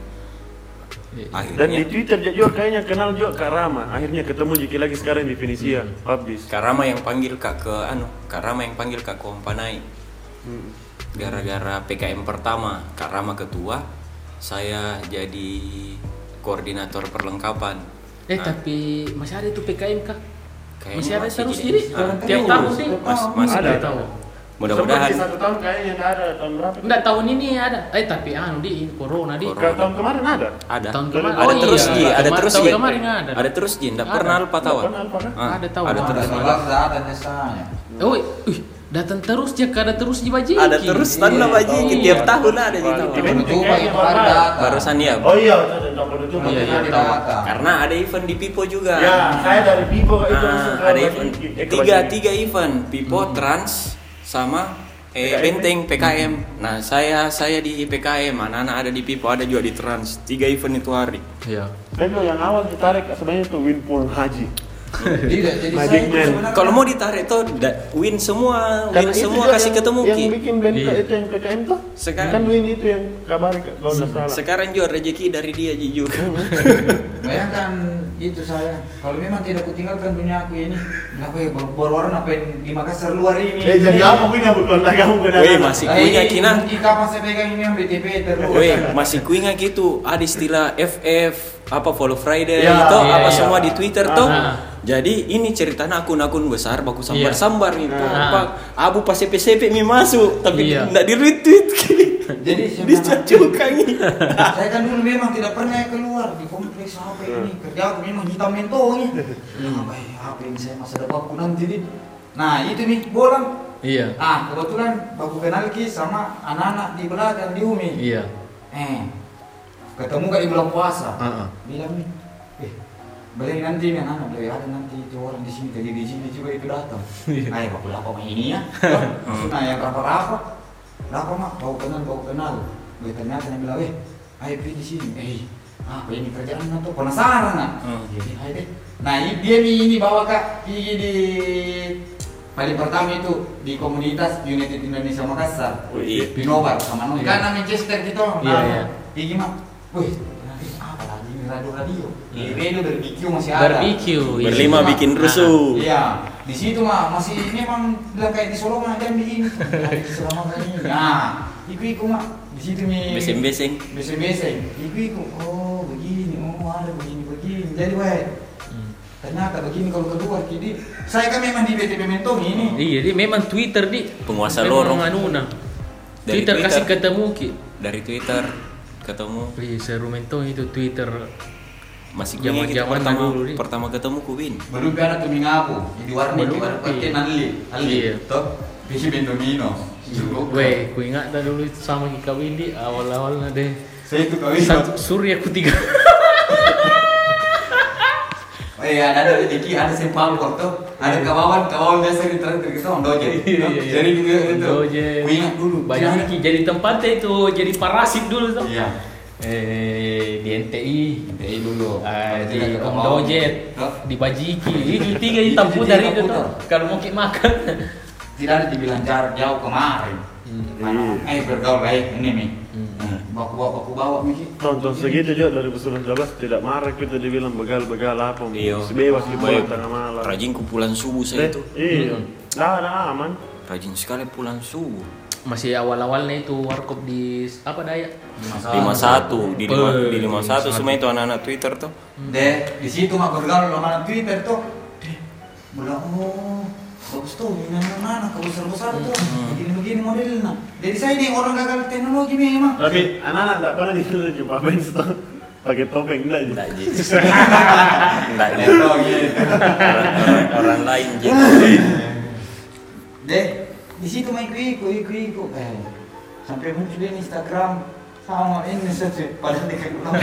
S4: Dan di
S2: Akhirnya
S4: Twitter juga kayaknya kenal juga Kak Rama. Akhirnya ketemu Jiki lagi sekarang di Venesia, Abdis.
S2: Karama yang panggil kak ke anu, Karama yang panggil kak ke Ompanai.
S4: Hmm.
S2: Gara-gara PKM pertama, Karama ketua, saya jadi koordinator perlengkapan.
S1: Eh
S2: Ha.
S1: tapi masih ada itu PKM kah?
S2: Kayaknya
S1: masih ada terus jadi
S2: jadi. Ah,
S1: tiap
S2: terus.
S1: tahun sih.
S2: Mas, masih
S1: ada
S2: ada.
S1: tahu.
S2: mudah-mudahan
S4: Sebelum di satu tahun kayaknya nggak ada tahun berapa?
S1: Enggak tahun ini ada. Eh tapi anu di corona di.
S2: Corona.
S4: Kalau tahun kemarin ada.
S2: ada
S1: Tahun kemarin.
S2: ada
S1: Oh,
S2: terus
S1: iya.
S2: Ji, ada
S1: Kemarin-
S2: terus
S1: tahun
S2: Ji.
S1: kemarin ada.
S2: ada terus Ji, enggak
S1: Ada.
S2: pernah lupa tahu
S4: Nggak pernah, apa?
S1: Ada tahu.
S2: ada
S3: Sudah
S2: terus
S3: salah saat dan saya.
S1: Oh, ih, datang terus je kada terus di baji.
S2: ada terus tanda baji
S1: Iya.
S2: tiap tahun ada Ji, tahu.
S4: Iya.
S3: Penutupan
S4: Iya.
S3: itu ada data.
S2: barusan ya
S4: Oh iya, tentang penduduk.
S3: Penutupan
S1: Iya, iya,
S3: ada
S1: tahu.
S3: data.
S2: karena ada event di Pipo juga
S4: Nah, Ya, saya dari Bibo Oh, itu langsung
S2: Nah,
S4: ke
S2: ada
S4: Bagi-
S2: event
S4: eh, ke
S2: tiga
S4: Bagi-
S2: tiga event Pipo Trans sama eh,
S4: PKM.
S2: Benteng PKM nah saya saya di PKM anak-anak ada di Pipo ada juga di Trans tiga event itu hari
S1: Iya.
S4: Saya bilang yang awal ditarik sebenarnya itu Winpool Haji.
S3: Tidak, jadi
S4: Magic
S3: saya itu
S4: Man.
S3: sebenarnya-
S2: kalau mau ditarik tuh da- win semua win
S4: Karena itu
S2: Iya, semua
S4: juga
S2: kasih
S4: yang-
S2: ketemu Ki
S4: Yang bikin blend
S1: Iya.
S4: itu yang PKM tuh.
S2: Sekarang-
S4: Kan Win itu yang kabari kalau nggak salah.
S2: sekarang juga rezeki dari dia Ji, juga
S3: Bayangkan itu saya. Kalau memang tidak kutinggalkan dunia aku ini, kenapa ya baru baru orang apa yang di Makassar luar ini?
S4: Eh jadi apa punya bukan lah kamu benar.
S2: Weh, masih punya
S3: Eh,
S2: Kinan
S3: Kita masih pegang ini yang BTP terus.
S2: Weh, masih kuinga gitu. Ada istilah FF, apa follow Friday
S4: Ya,
S2: itu,
S1: iya,
S2: apa
S1: iya.
S2: semua di Twitter tuh.
S1: Ah.
S2: Jadi ini ceritanya akun-akun besar baku
S1: Iya.
S2: sambar-sambar gitu.
S1: Ah.
S2: Apa abu pas CP mi masuk, tapi
S1: Iya.
S2: tidak di retweet.
S3: Jadi saya
S2: dicacukangi.
S3: saya kan dulu memang tidak pernah keluar di kompleks HP ini. Kerja aku memang hitam mentongnya. Apa ya, apa yang saya masa depanku nanti ini? Nah itu nih bolang.
S1: Iya.
S3: Nah kebetulan aku kenal Ki sama anak-anak di belakang di Umi.
S1: Iya.
S3: Eh, ketemu gak di bulan puasa?
S1: Heeh.
S3: Bilang nih, eh, beli nanti nih anak, beli ada nanti itu orang di sini kerja di sini juga itu datang. Nah, ya bapak apa ini ya? nah, yang rapat-rapat, rapat mak, kau kenal, kau kenal. Gue ternyata yang bilang, eh, ayo pergi di sini. Eh, apa ini kerjaan atau penasaran nggak?
S2: Hmm.
S3: Jadi, ayo deh. Nah, i- dia nih ini bawa kak pergi di paling pertama itu di komunitas United Indonesia Makassar.
S2: Wih.
S3: Binobar sama Noy.
S1: Iya.
S3: Karena Manchester gitu.
S1: Iya, iya.
S3: Iya gimana? Wih, nanti apa lagi ini radio-radio? Di radio barbecue masih ada.
S1: Iya. Barbecue. iya.
S2: Berlima
S3: Iya.
S2: bikin rusuh.
S3: Iya, di situ mah masih memang bilang kayak di Solo mah kan bikin. Nah, di Solo mah kayak ini. Nah, iku-iku mah di situ nih.
S2: Beseng-beseng.
S3: Beseng-beseng. Iku-iku. Oh, begini. Oh, ada begini-begini. Jadi, weh.
S1: Hmm.
S3: Ternyata begini kalau keluar jadi saya kan memang di BTP Mentong ini.
S1: Iya, jadi memang Twitter di
S2: Penguasa lorong.
S1: memang anu nah.
S2: Dari
S1: Twitter,
S2: Twitter.
S1: kasih ketemu ki.
S2: Dari Twitter ketemu
S1: Ih, seru mentong itu Twitter.
S2: masih kuinga kita
S1: Zaman-zaman
S2: pertama
S1: dulu, Ri.
S2: pertama ketemu ku win.
S3: Belum ada tu mingapu, di warnet di
S1: Belum,
S3: warnet
S1: iya.
S3: pakai nanli, nanli,
S1: Iya.
S3: toh, bisi bendomino.
S1: Weh, ku ingat dah dulu itu sama ki kawin di awal-awal nah deh.
S3: Saya tu kawin.
S1: Satu surya ku tiga.
S3: Oh iya, ada rezeki, ada sempal kok tuh. Ada
S1: Iya.
S3: kawawan, kawawan biasa di terakhir kita orang doje. Jadi juga itu.
S1: Doje.
S3: Ingat dulu,
S1: iya. Banyak ki jadi tempatnya itu jadi parasit dulu tuh.
S3: Iya.
S1: Eh, di NTI.
S3: Dari dulu.
S1: Ah,
S3: Kalau tidak
S1: di
S3: kita
S1: Om
S3: kawawan.
S1: Dojet,
S3: Toh,
S1: di Bajiki, itu tiga
S3: Itu
S1: hitam
S3: tiga
S1: putar itu
S3: hitam
S1: tuh. Kalau mau ki makan,
S3: Tidak ada dibilang jarak jauh kemarin.
S1: Hmm.
S3: Mana? Eh bergaul baik ini nih. Bawa bawa bawa bawa Miki.
S4: Tonton segitu juga 2019 tidak marah kita dibilang begal-begal apa
S2: Iya.
S4: bebas di bawah
S2: Baik.
S4: tengah malam.
S2: Rajin ku pulang subuh saya
S4: Deh,
S2: itu.
S4: Iya. Nah, nah aman.
S2: Rajin sekali pulang subuh.
S1: masih awal-awalnya itu warkop di apa ya? daya?
S3: Ah.
S2: lima satu di lima
S1: Pe-
S2: di lima satu semua itu anak-anak Twitter tuh
S3: Deh, di situ mah bergaul sama anak Twitter tuh. Deh, bilang oh, bagus tuh, ini anak-anak, besar-besar tuh, begini-begini modelnya. Jadi saya nih orang gagal teknologi memang.
S4: Tapi anak-anak tidak pernah disuruh jumpa Winston pakai topeng enggak aja.
S2: enggak jadi enggak Ji. orang, orang- orang lain jadi
S3: Deh, di situ mah ikut ikut ikut ikut. Eh, sampai muncul di Instagram sama ini saja padahal dekat ulama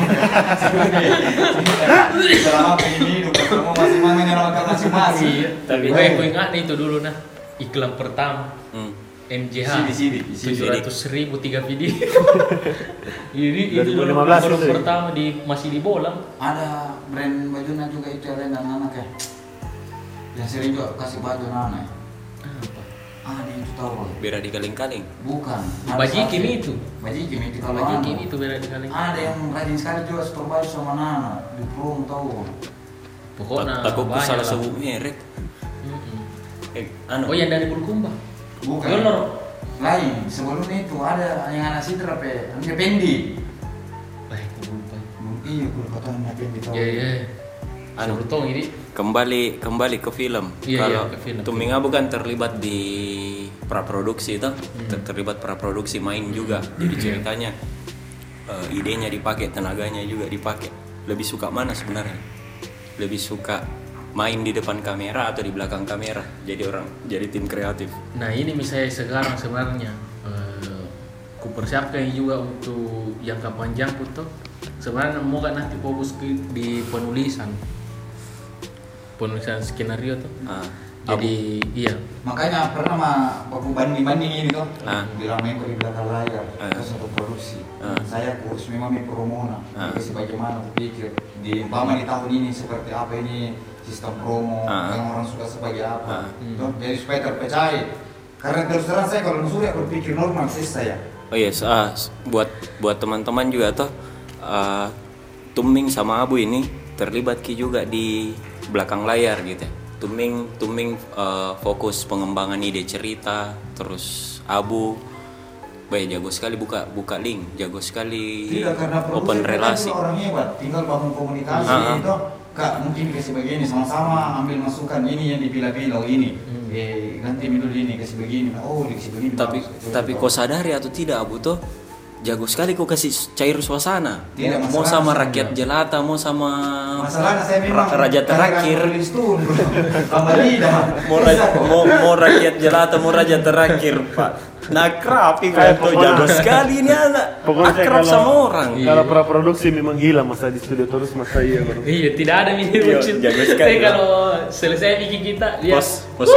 S3: selama ini hidup semua masih mangan yang orang masing-masing
S1: Tapi eh. gue gue ingat nih itu dulu nah iklan pertama
S2: Hmm.
S1: MJH
S3: Di sini, di
S1: tujuh ratus ribu tiga video. Jadi itu
S4: 2015
S1: baru
S4: itu ya?
S1: pertama di masih di bolam.
S3: ada brand baju nah juga itu ada yang anak ya yang sering juga kasih baju anak ah di itu tahu Boy.
S2: beda di kaleng-kaleng
S3: bukan Ada
S1: Bajiki
S3: satu.
S1: nih itu.
S3: bajiki itu kalau
S1: Bajiki
S3: anak.
S1: nih itu beda di kaleng.
S3: ada ya. yang rajin sekali juga setor baju sama anak di perum tahu
S1: Pokoknya
S2: takut ku
S1: banyak
S2: salah
S1: Oh, nah, lah.
S2: sebut merek
S1: Mm-mm.
S2: eh anu
S1: Oh yang dari Bulukumba.
S3: bukan
S1: Yolor.
S3: lain sebelumnya itu ada yang anak sitra pe anaknya pendi
S1: Baik, aku lupa.
S3: iya kalau kata anak pendi tahu
S1: Ya ya. Anu tong ini.
S2: kembali kembali ke film
S1: Iya,
S2: kalau
S1: iya, ke film.
S2: Tuminga bukan terlibat di praproduksi itu
S1: Hmm.
S2: ter- terlibat praproduksi main juga jadi ceritanya eh, idenya dipakai tenaganya juga dipakai lebih suka mana sebenarnya lebih suka main di depan kamera atau di belakang kamera jadi orang jadi tim kreatif
S1: Nah ini misalnya sekarang sebenarnya eh, ku persiapkan juga untuk jangka panjang tuh sebenarnya mau kan nanti fokus ke- di penulisan penulisan skenario tuh
S2: Ah,
S1: jadi iya
S3: Makanya pernah mah aku banding-bandingin itu
S2: Ah.
S3: Bilang main di belakang layar
S2: Ah.
S3: Itu satu produksi
S2: Ah.
S3: Saya kursus memang main promo nah
S2: Ah.
S3: Jadi sebagaimana aku pikir Di umpama di tahun ini seperti apa ini Sistem promo
S2: Ah.
S3: Yang orang suka sebagai
S2: Ah.
S3: apa Tuh, Jadi supaya terpercaya Karena terus terang saya kalau mencuri aku pikir normal sih saya
S2: Oh yes, ah, s- buat buat teman-teman juga toh ah, Tuming sama Abu ini terlibat ki juga di belakang layar gitu. ya. Tuming Tuming eh, fokus pengembangan ide cerita, terus Abu Wah, jago sekali buka buka link, jago sekali
S3: Tidak Iya, karena
S2: Iya,
S3: produsen
S2: open
S3: kita
S2: relasi.
S3: juga orang hebat, tinggal bangun komunikasi
S2: Ah, ah.
S3: itu kak mungkin kasih begini sama-sama ambil masukan ini yang dipilah-pilah oh, ini eh ganti menu ini kasih begini oh dikasih begini
S2: Hmm. Tapi
S3: bagus. gitu. Itu-
S2: tapi
S3: itu.
S2: kau sadari atau tidak Abu toh jago sekali kau kasih cair suasana.
S3: Tidak,
S2: mau
S3: masalah
S2: sama
S3: sama
S2: rakyat
S3: dia.
S2: jelata, mau sama
S3: Iya, masalahnya saya memang
S2: ra- raja terakhir.
S3: tulis tuh sama lidah
S2: mau, ra- mau, mau rakyat jelata mau raja terakhir pak nah kerap
S4: Kayak
S2: itu
S4: pokoknya-
S2: jago sekali ini anak
S4: Pokoknya
S2: akrab
S4: kalau-
S2: sama orang Iya.
S4: Kalau praproduksi memang gila masa di studio terus masa iya bro.
S1: iya tidak ada mikir
S2: Iya,
S1: bucin.
S2: jago sekali,
S1: tapi
S2: Bang.
S1: kalau selesai bikin kita ya
S4: Iya.
S2: Pos- pos-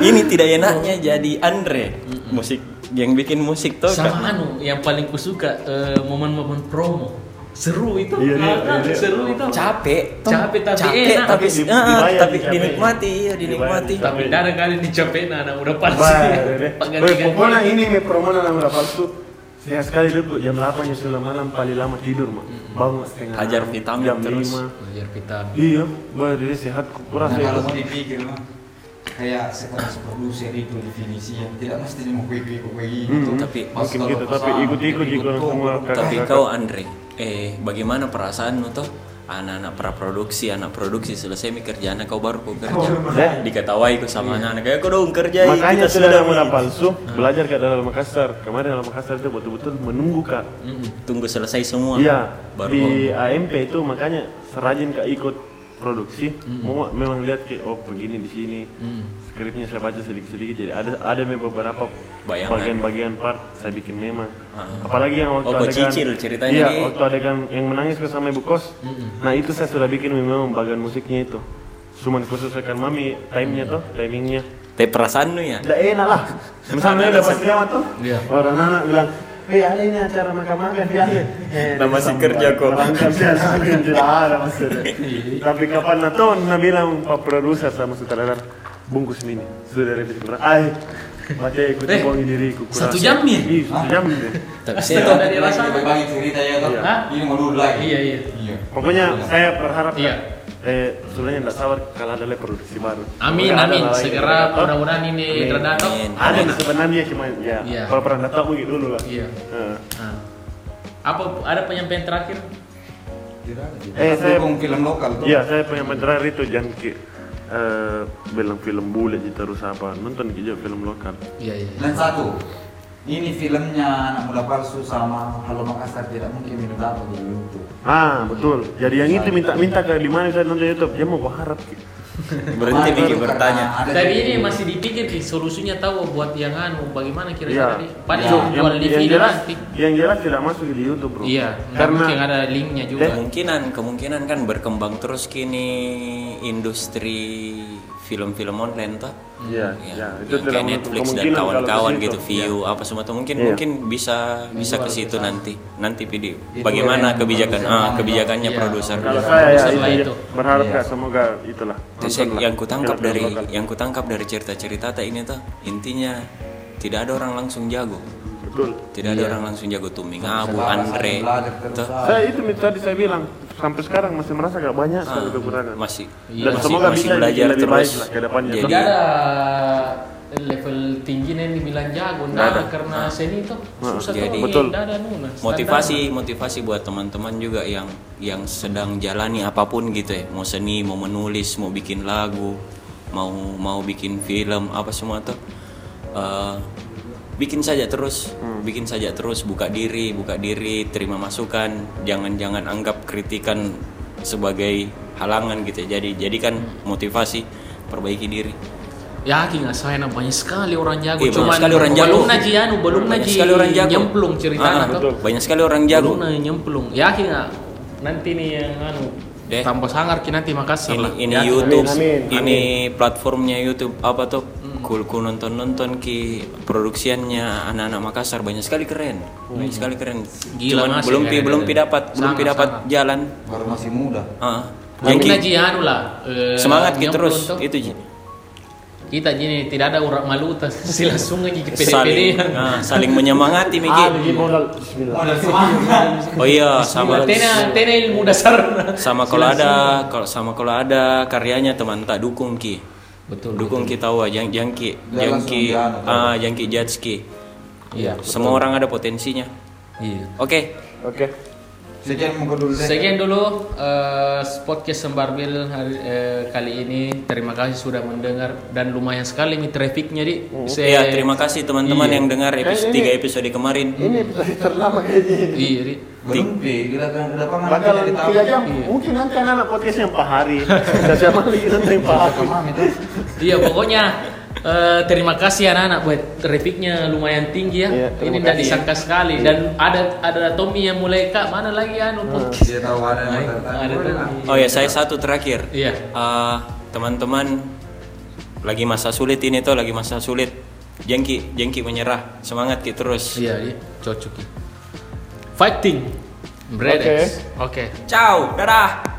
S2: ini tidak enaknya jadi Andre musik yang bikin musik kan? tuh
S1: sama anu yang paling kusuka eh, momen-momen promo seru itu
S4: Iya, iya,
S1: Ah,
S4: iya.
S1: seru itu
S2: capek toh.
S1: Capek tapi
S2: capek
S1: enak.
S2: tapi,
S4: Tapi di-
S2: ah,
S4: dibayar,
S2: tapi
S4: dicapein.
S2: dinikmati iya
S4: Dibayar,
S2: dinikmati
S4: dicapein.
S1: tapi ada kali dicapein anak udah kan. pasti
S4: Bah, deh. Weh,
S1: Pengganti-ganti.
S4: pokoknya ini me permohonan sama dapat tuh. Saya sekali dulu jam 8 jam 9 malam paling lama tidur mah. Bangun setengah
S2: Hajar
S4: enam,
S2: vitamin
S4: jam
S2: terus.
S4: 5.
S1: belajar kita
S4: Iya, bah deh sehat kurang
S3: nah,
S4: saya.
S3: kalau mau dipikir mah kayak sekelas produser itu definisinya tidak mesti mau kuih-kuih kuih gitu
S4: Hmm,
S2: tapi
S3: Pas
S4: mungkin
S3: kalau
S4: gitu, tapi
S3: pesan,
S4: ikut-ikut juga
S3: ikut-ikut,
S4: semua kakak.
S2: tapi kau Andre eh bagaimana perasaanmu tuh anak-anak praproduksi anak produksi selesai mi kerjaan kau baru kau kerja
S4: Deh.
S2: diketawai kau sama anak-anak kayak kau dong kerja
S4: Oh, iya. Makanya
S2: kita
S4: Iya, sudah
S2: sudah
S4: ada
S2: mi."
S4: modal palsu, belajar ke dalam Makassar. Kemarin dalam Makassar itu betul-betul menunggu kak.
S2: tunggu selesai semua kan?
S4: Iya,
S2: baru
S4: di
S2: kau-
S4: AMP itu makanya serajin kak ikut produksi. Mau memang lihat kayak oh begini di sini.
S2: Mm.
S4: Skripnya saya baca sedikit-sedikit jadi ada ada memang beberapa
S2: Bayangan.
S4: bagian-bagian part saya bikin memang.
S2: Ah.
S4: Apalagi yang waktu
S2: Oh, kok cicil ceritanya
S4: Iya,
S2: nih.
S4: waktu adegan yang menangis ke sama Ibu Kos. Nah, itu saya sudah bikin memang bagian musiknya itu. Cuman khusus akan mami timenya tuh, timingnya.
S2: tapi perasaanmu ya
S4: Tidak enak lah. Misalnya udah pasti lama tuh. Orang anak bilang, Eh, ada ini acara makan-makan ya. Eh,
S2: Nah, masih kerja kok.
S4: Langkah sih, langkah tidak ada maksudnya. Tapi kapan naton, nah bilang pak produser sama sutradara, bungkus ini sudah revisi kurang. Ay, mati ikut
S1: Eh,
S4: bohongi diriku. kurang."
S1: satu jam nih? Ah.
S4: Ih, satu jam nih.
S2: tapi
S1: Pasti
S2: saya
S1: dong.
S2: tahu-
S1: Iya. Dari rasa.
S3: bagi cerita ya toh.
S1: Iya.
S3: Ini mau dulu lagi.
S1: Iya, iya.
S4: Pokoknya saya berharap
S1: Iya.
S4: eh sebenarnya tidak sabar kalau ada lagi produksi baru.
S1: amin
S4: Kalau ada
S1: amin
S4: lagi
S1: segera
S4: produksi baru.
S1: mudah-mudahan ini
S4: iya. Amin.
S1: terdatang
S2: Amin.
S4: Ada nih sebenarnya cuma ya.
S1: Iya.
S4: Kalau pernah datang mungkin dulu lah. Eh.
S1: Iya.
S4: Heeh.
S1: Nah, apa ada penyampaian terakhir
S4: Eh,
S3: Eh,
S4: saya-
S3: dukung film lokal tuh.
S4: Iya, saya punya menteri itu jangan ki eh, bilang film bule aja terus apa nonton ki juga film lokal.
S1: iya iya
S3: Dan satu, ini filmnya anak muda palsu sama Halo Makassar tidak mungkin minum dapat di YouTube.
S4: Ah betul. Jadi yang itu minta-minta ke di mana saya nonton YouTube dia mau berharap ki.
S2: berhenti
S3: Kemarin
S2: mikir
S3: baru
S2: bertanya
S3: karena ada
S1: Tadi
S3: di-
S1: ini masih dipikir nih, solusinya tahu buat yang anu bagaimana
S4: Iya.
S1: kira-kira nih.
S4: Itu,
S1: Padahal jual
S4: yang,
S1: di
S4: yang
S1: video
S4: jelas,
S1: nanti.
S4: yang jelas tidak masuk di YouTube bro.
S1: Iya,
S4: Karena Eh,
S1: karena yang ada linknya juga.
S2: kemungkinan kemungkinan kan berkembang terus kini industri film-film online toh
S4: Iya, iya.
S2: yang Ya,
S4: Itu tidak
S2: kayak
S4: menutup
S2: Netflix dan
S4: kemungkinan kalau ke
S2: kawan-kawan
S4: situ.
S2: gitu view apa semua tuh mungkin
S4: Iya.
S2: mungkin bisa bisa ke situ nanti nanti video
S3: Itu ya,
S2: bagaimana
S3: yang
S2: kebijakan
S3: produser
S2: ah,
S3: mana,
S2: kebijakannya
S1: Iya.
S2: produser
S4: Kalau saya ya
S1: Setelah
S4: itu, ya.
S1: itu.
S4: berharap
S3: Iya.
S4: ya semoga itulah.
S2: Terus
S4: nontonlah
S2: yang kutangkap
S4: film-film
S2: dari
S4: lokal.
S2: yang kutangkap dari cerita-cerita tak ini tuh intinya tidak ada orang langsung jago.
S4: betul.
S2: Tidak ada orang langsung jago Tuming, Abu,
S3: Selaras,
S2: Andre.
S3: ada Iya. belajar terus. ah.
S2: Tuh,
S4: Saya itu tadi saya bilang sampai sekarang masih merasa gak banyak sekali
S2: Ah,
S4: kekurangan.
S2: masih
S1: Iya.
S4: Dan
S2: masih,
S4: semoga
S2: masih
S4: bisa
S2: belajar
S4: jadi lebih
S2: terus
S4: baik lah ke depannya.
S1: Jadi
S2: Jadi
S1: ada level tinggi nih dibilang jago. Nah,
S4: ada.
S1: karena seni itu susah
S2: Jadi-
S1: tuh.
S4: Betul.
S1: Tidak ada nuna.
S2: Nah, iya, motivasi motivasi buat teman-teman juga yang yang sedang jalani apapun gitu ya. Mau seni, mau menulis, mau bikin lagu, mau mau bikin film apa semua tuh. eh, bikin saja terus,
S1: Hmm.
S2: bikin saja terus, buka diri, buka diri, terima masukan, jangan-jangan anggap kritikan sebagai halangan gitu. ya. Jadi jadikan motivasi, perbaiki diri.
S1: Yakin Ya, nggak saya namanya sekali orang jago.
S2: Iya, banyak
S1: Cuman
S2: sekali orang jago.
S1: Belum naji anu, belum
S2: Banyak
S1: naji
S2: sekali orang jago.
S1: nyemplung cerita
S2: Ah,
S1: atau
S4: betul.
S2: Banyak sekali orang jago.
S1: belum naji nyemplung. Yakin nggak? Nanti nih yang anu.
S2: Deh.
S1: Tambah sangar ki nanti Ya, Makassar
S2: ini
S1: lah.
S2: ini
S1: Yakin.
S2: YouTube
S4: Amin, amin,
S2: ini platformnya YouTube apa tuh
S1: Hmm.
S2: kulku nonton nonton ki produksiannya anak-anak Makassar banyak sekali keren banyak sekali keren
S1: Hmm. Gila,
S2: cuman
S1: masih
S2: belum pi
S1: keren,
S2: belum
S1: keren.
S2: pi dapat belum pi
S1: Sangat,
S2: dapat
S1: sangat.
S2: jalan
S3: baru masih muda
S2: Ah.
S1: Belum
S2: Jadi,
S1: naji anu lah. eh,
S2: semangat ki
S1: nyemplung
S2: terus
S1: tuh.
S2: itu Ji.
S1: Kita gini tidak ada orang malu tas sila sungai ki
S2: saling
S1: pede-pede.
S2: ah, saling menyemangati mi Ki.
S4: Ah, jadi modal Bismillah.
S2: oh iya sama
S1: Tena tena ilmu dasar.
S2: sama kalau ada kalau sama kalau ada karyanya teman tak dukung ki
S1: Betul.
S2: dukung kita wah jang jangki
S3: Dia
S2: jangki
S3: langsung dia,
S2: ah jangki jatski
S1: Iya.
S2: semua orang ada potensinya
S1: Iya.
S2: oke
S4: Oke.
S3: sekian muka dulu deh
S1: Sekian dulu eh, podcast Sembarbil hari eh, kali ini. Terima kasih sudah mendengar dan lumayan sekali nih trafficnya di. Saya-
S2: ya terima kasih teman-teman
S1: Iya.
S2: yang dengar episode
S4: Eh, ini-
S2: tiga episode kemarin
S4: Ini episode terlama kayaknya.
S1: Iya, Di.
S3: belum pi kita ke depan mana
S4: Bakal
S3: jadi tahu
S4: tiga jam. Mungkin nanti anak podcast yang Pak Hari. Saya sama lagi nanti Pak Hari.
S3: Paham itu
S1: Iya, pokoknya eh, terima kasih anak-anak buat trafficnya lumayan tinggi ya.
S4: Iya,
S1: ini
S4: terima
S1: tidak
S4: kasih.
S1: disangka sekali dan ada ada Tommy yang mulai kak mana lagi anu podcast.
S3: dia tahu ada yang
S1: Iya, Ada
S3: tertarik
S1: Tommy.
S2: oh ya saya satu terakhir
S1: Iya.
S2: Ah, teman-teman lagi masa sulit ini tuh lagi masa sulit jengki jengki menyerah semangat ki terus
S1: Iya, Di. Cocok. Di. Fighting. Bredex. Oke.
S2: ciao dadah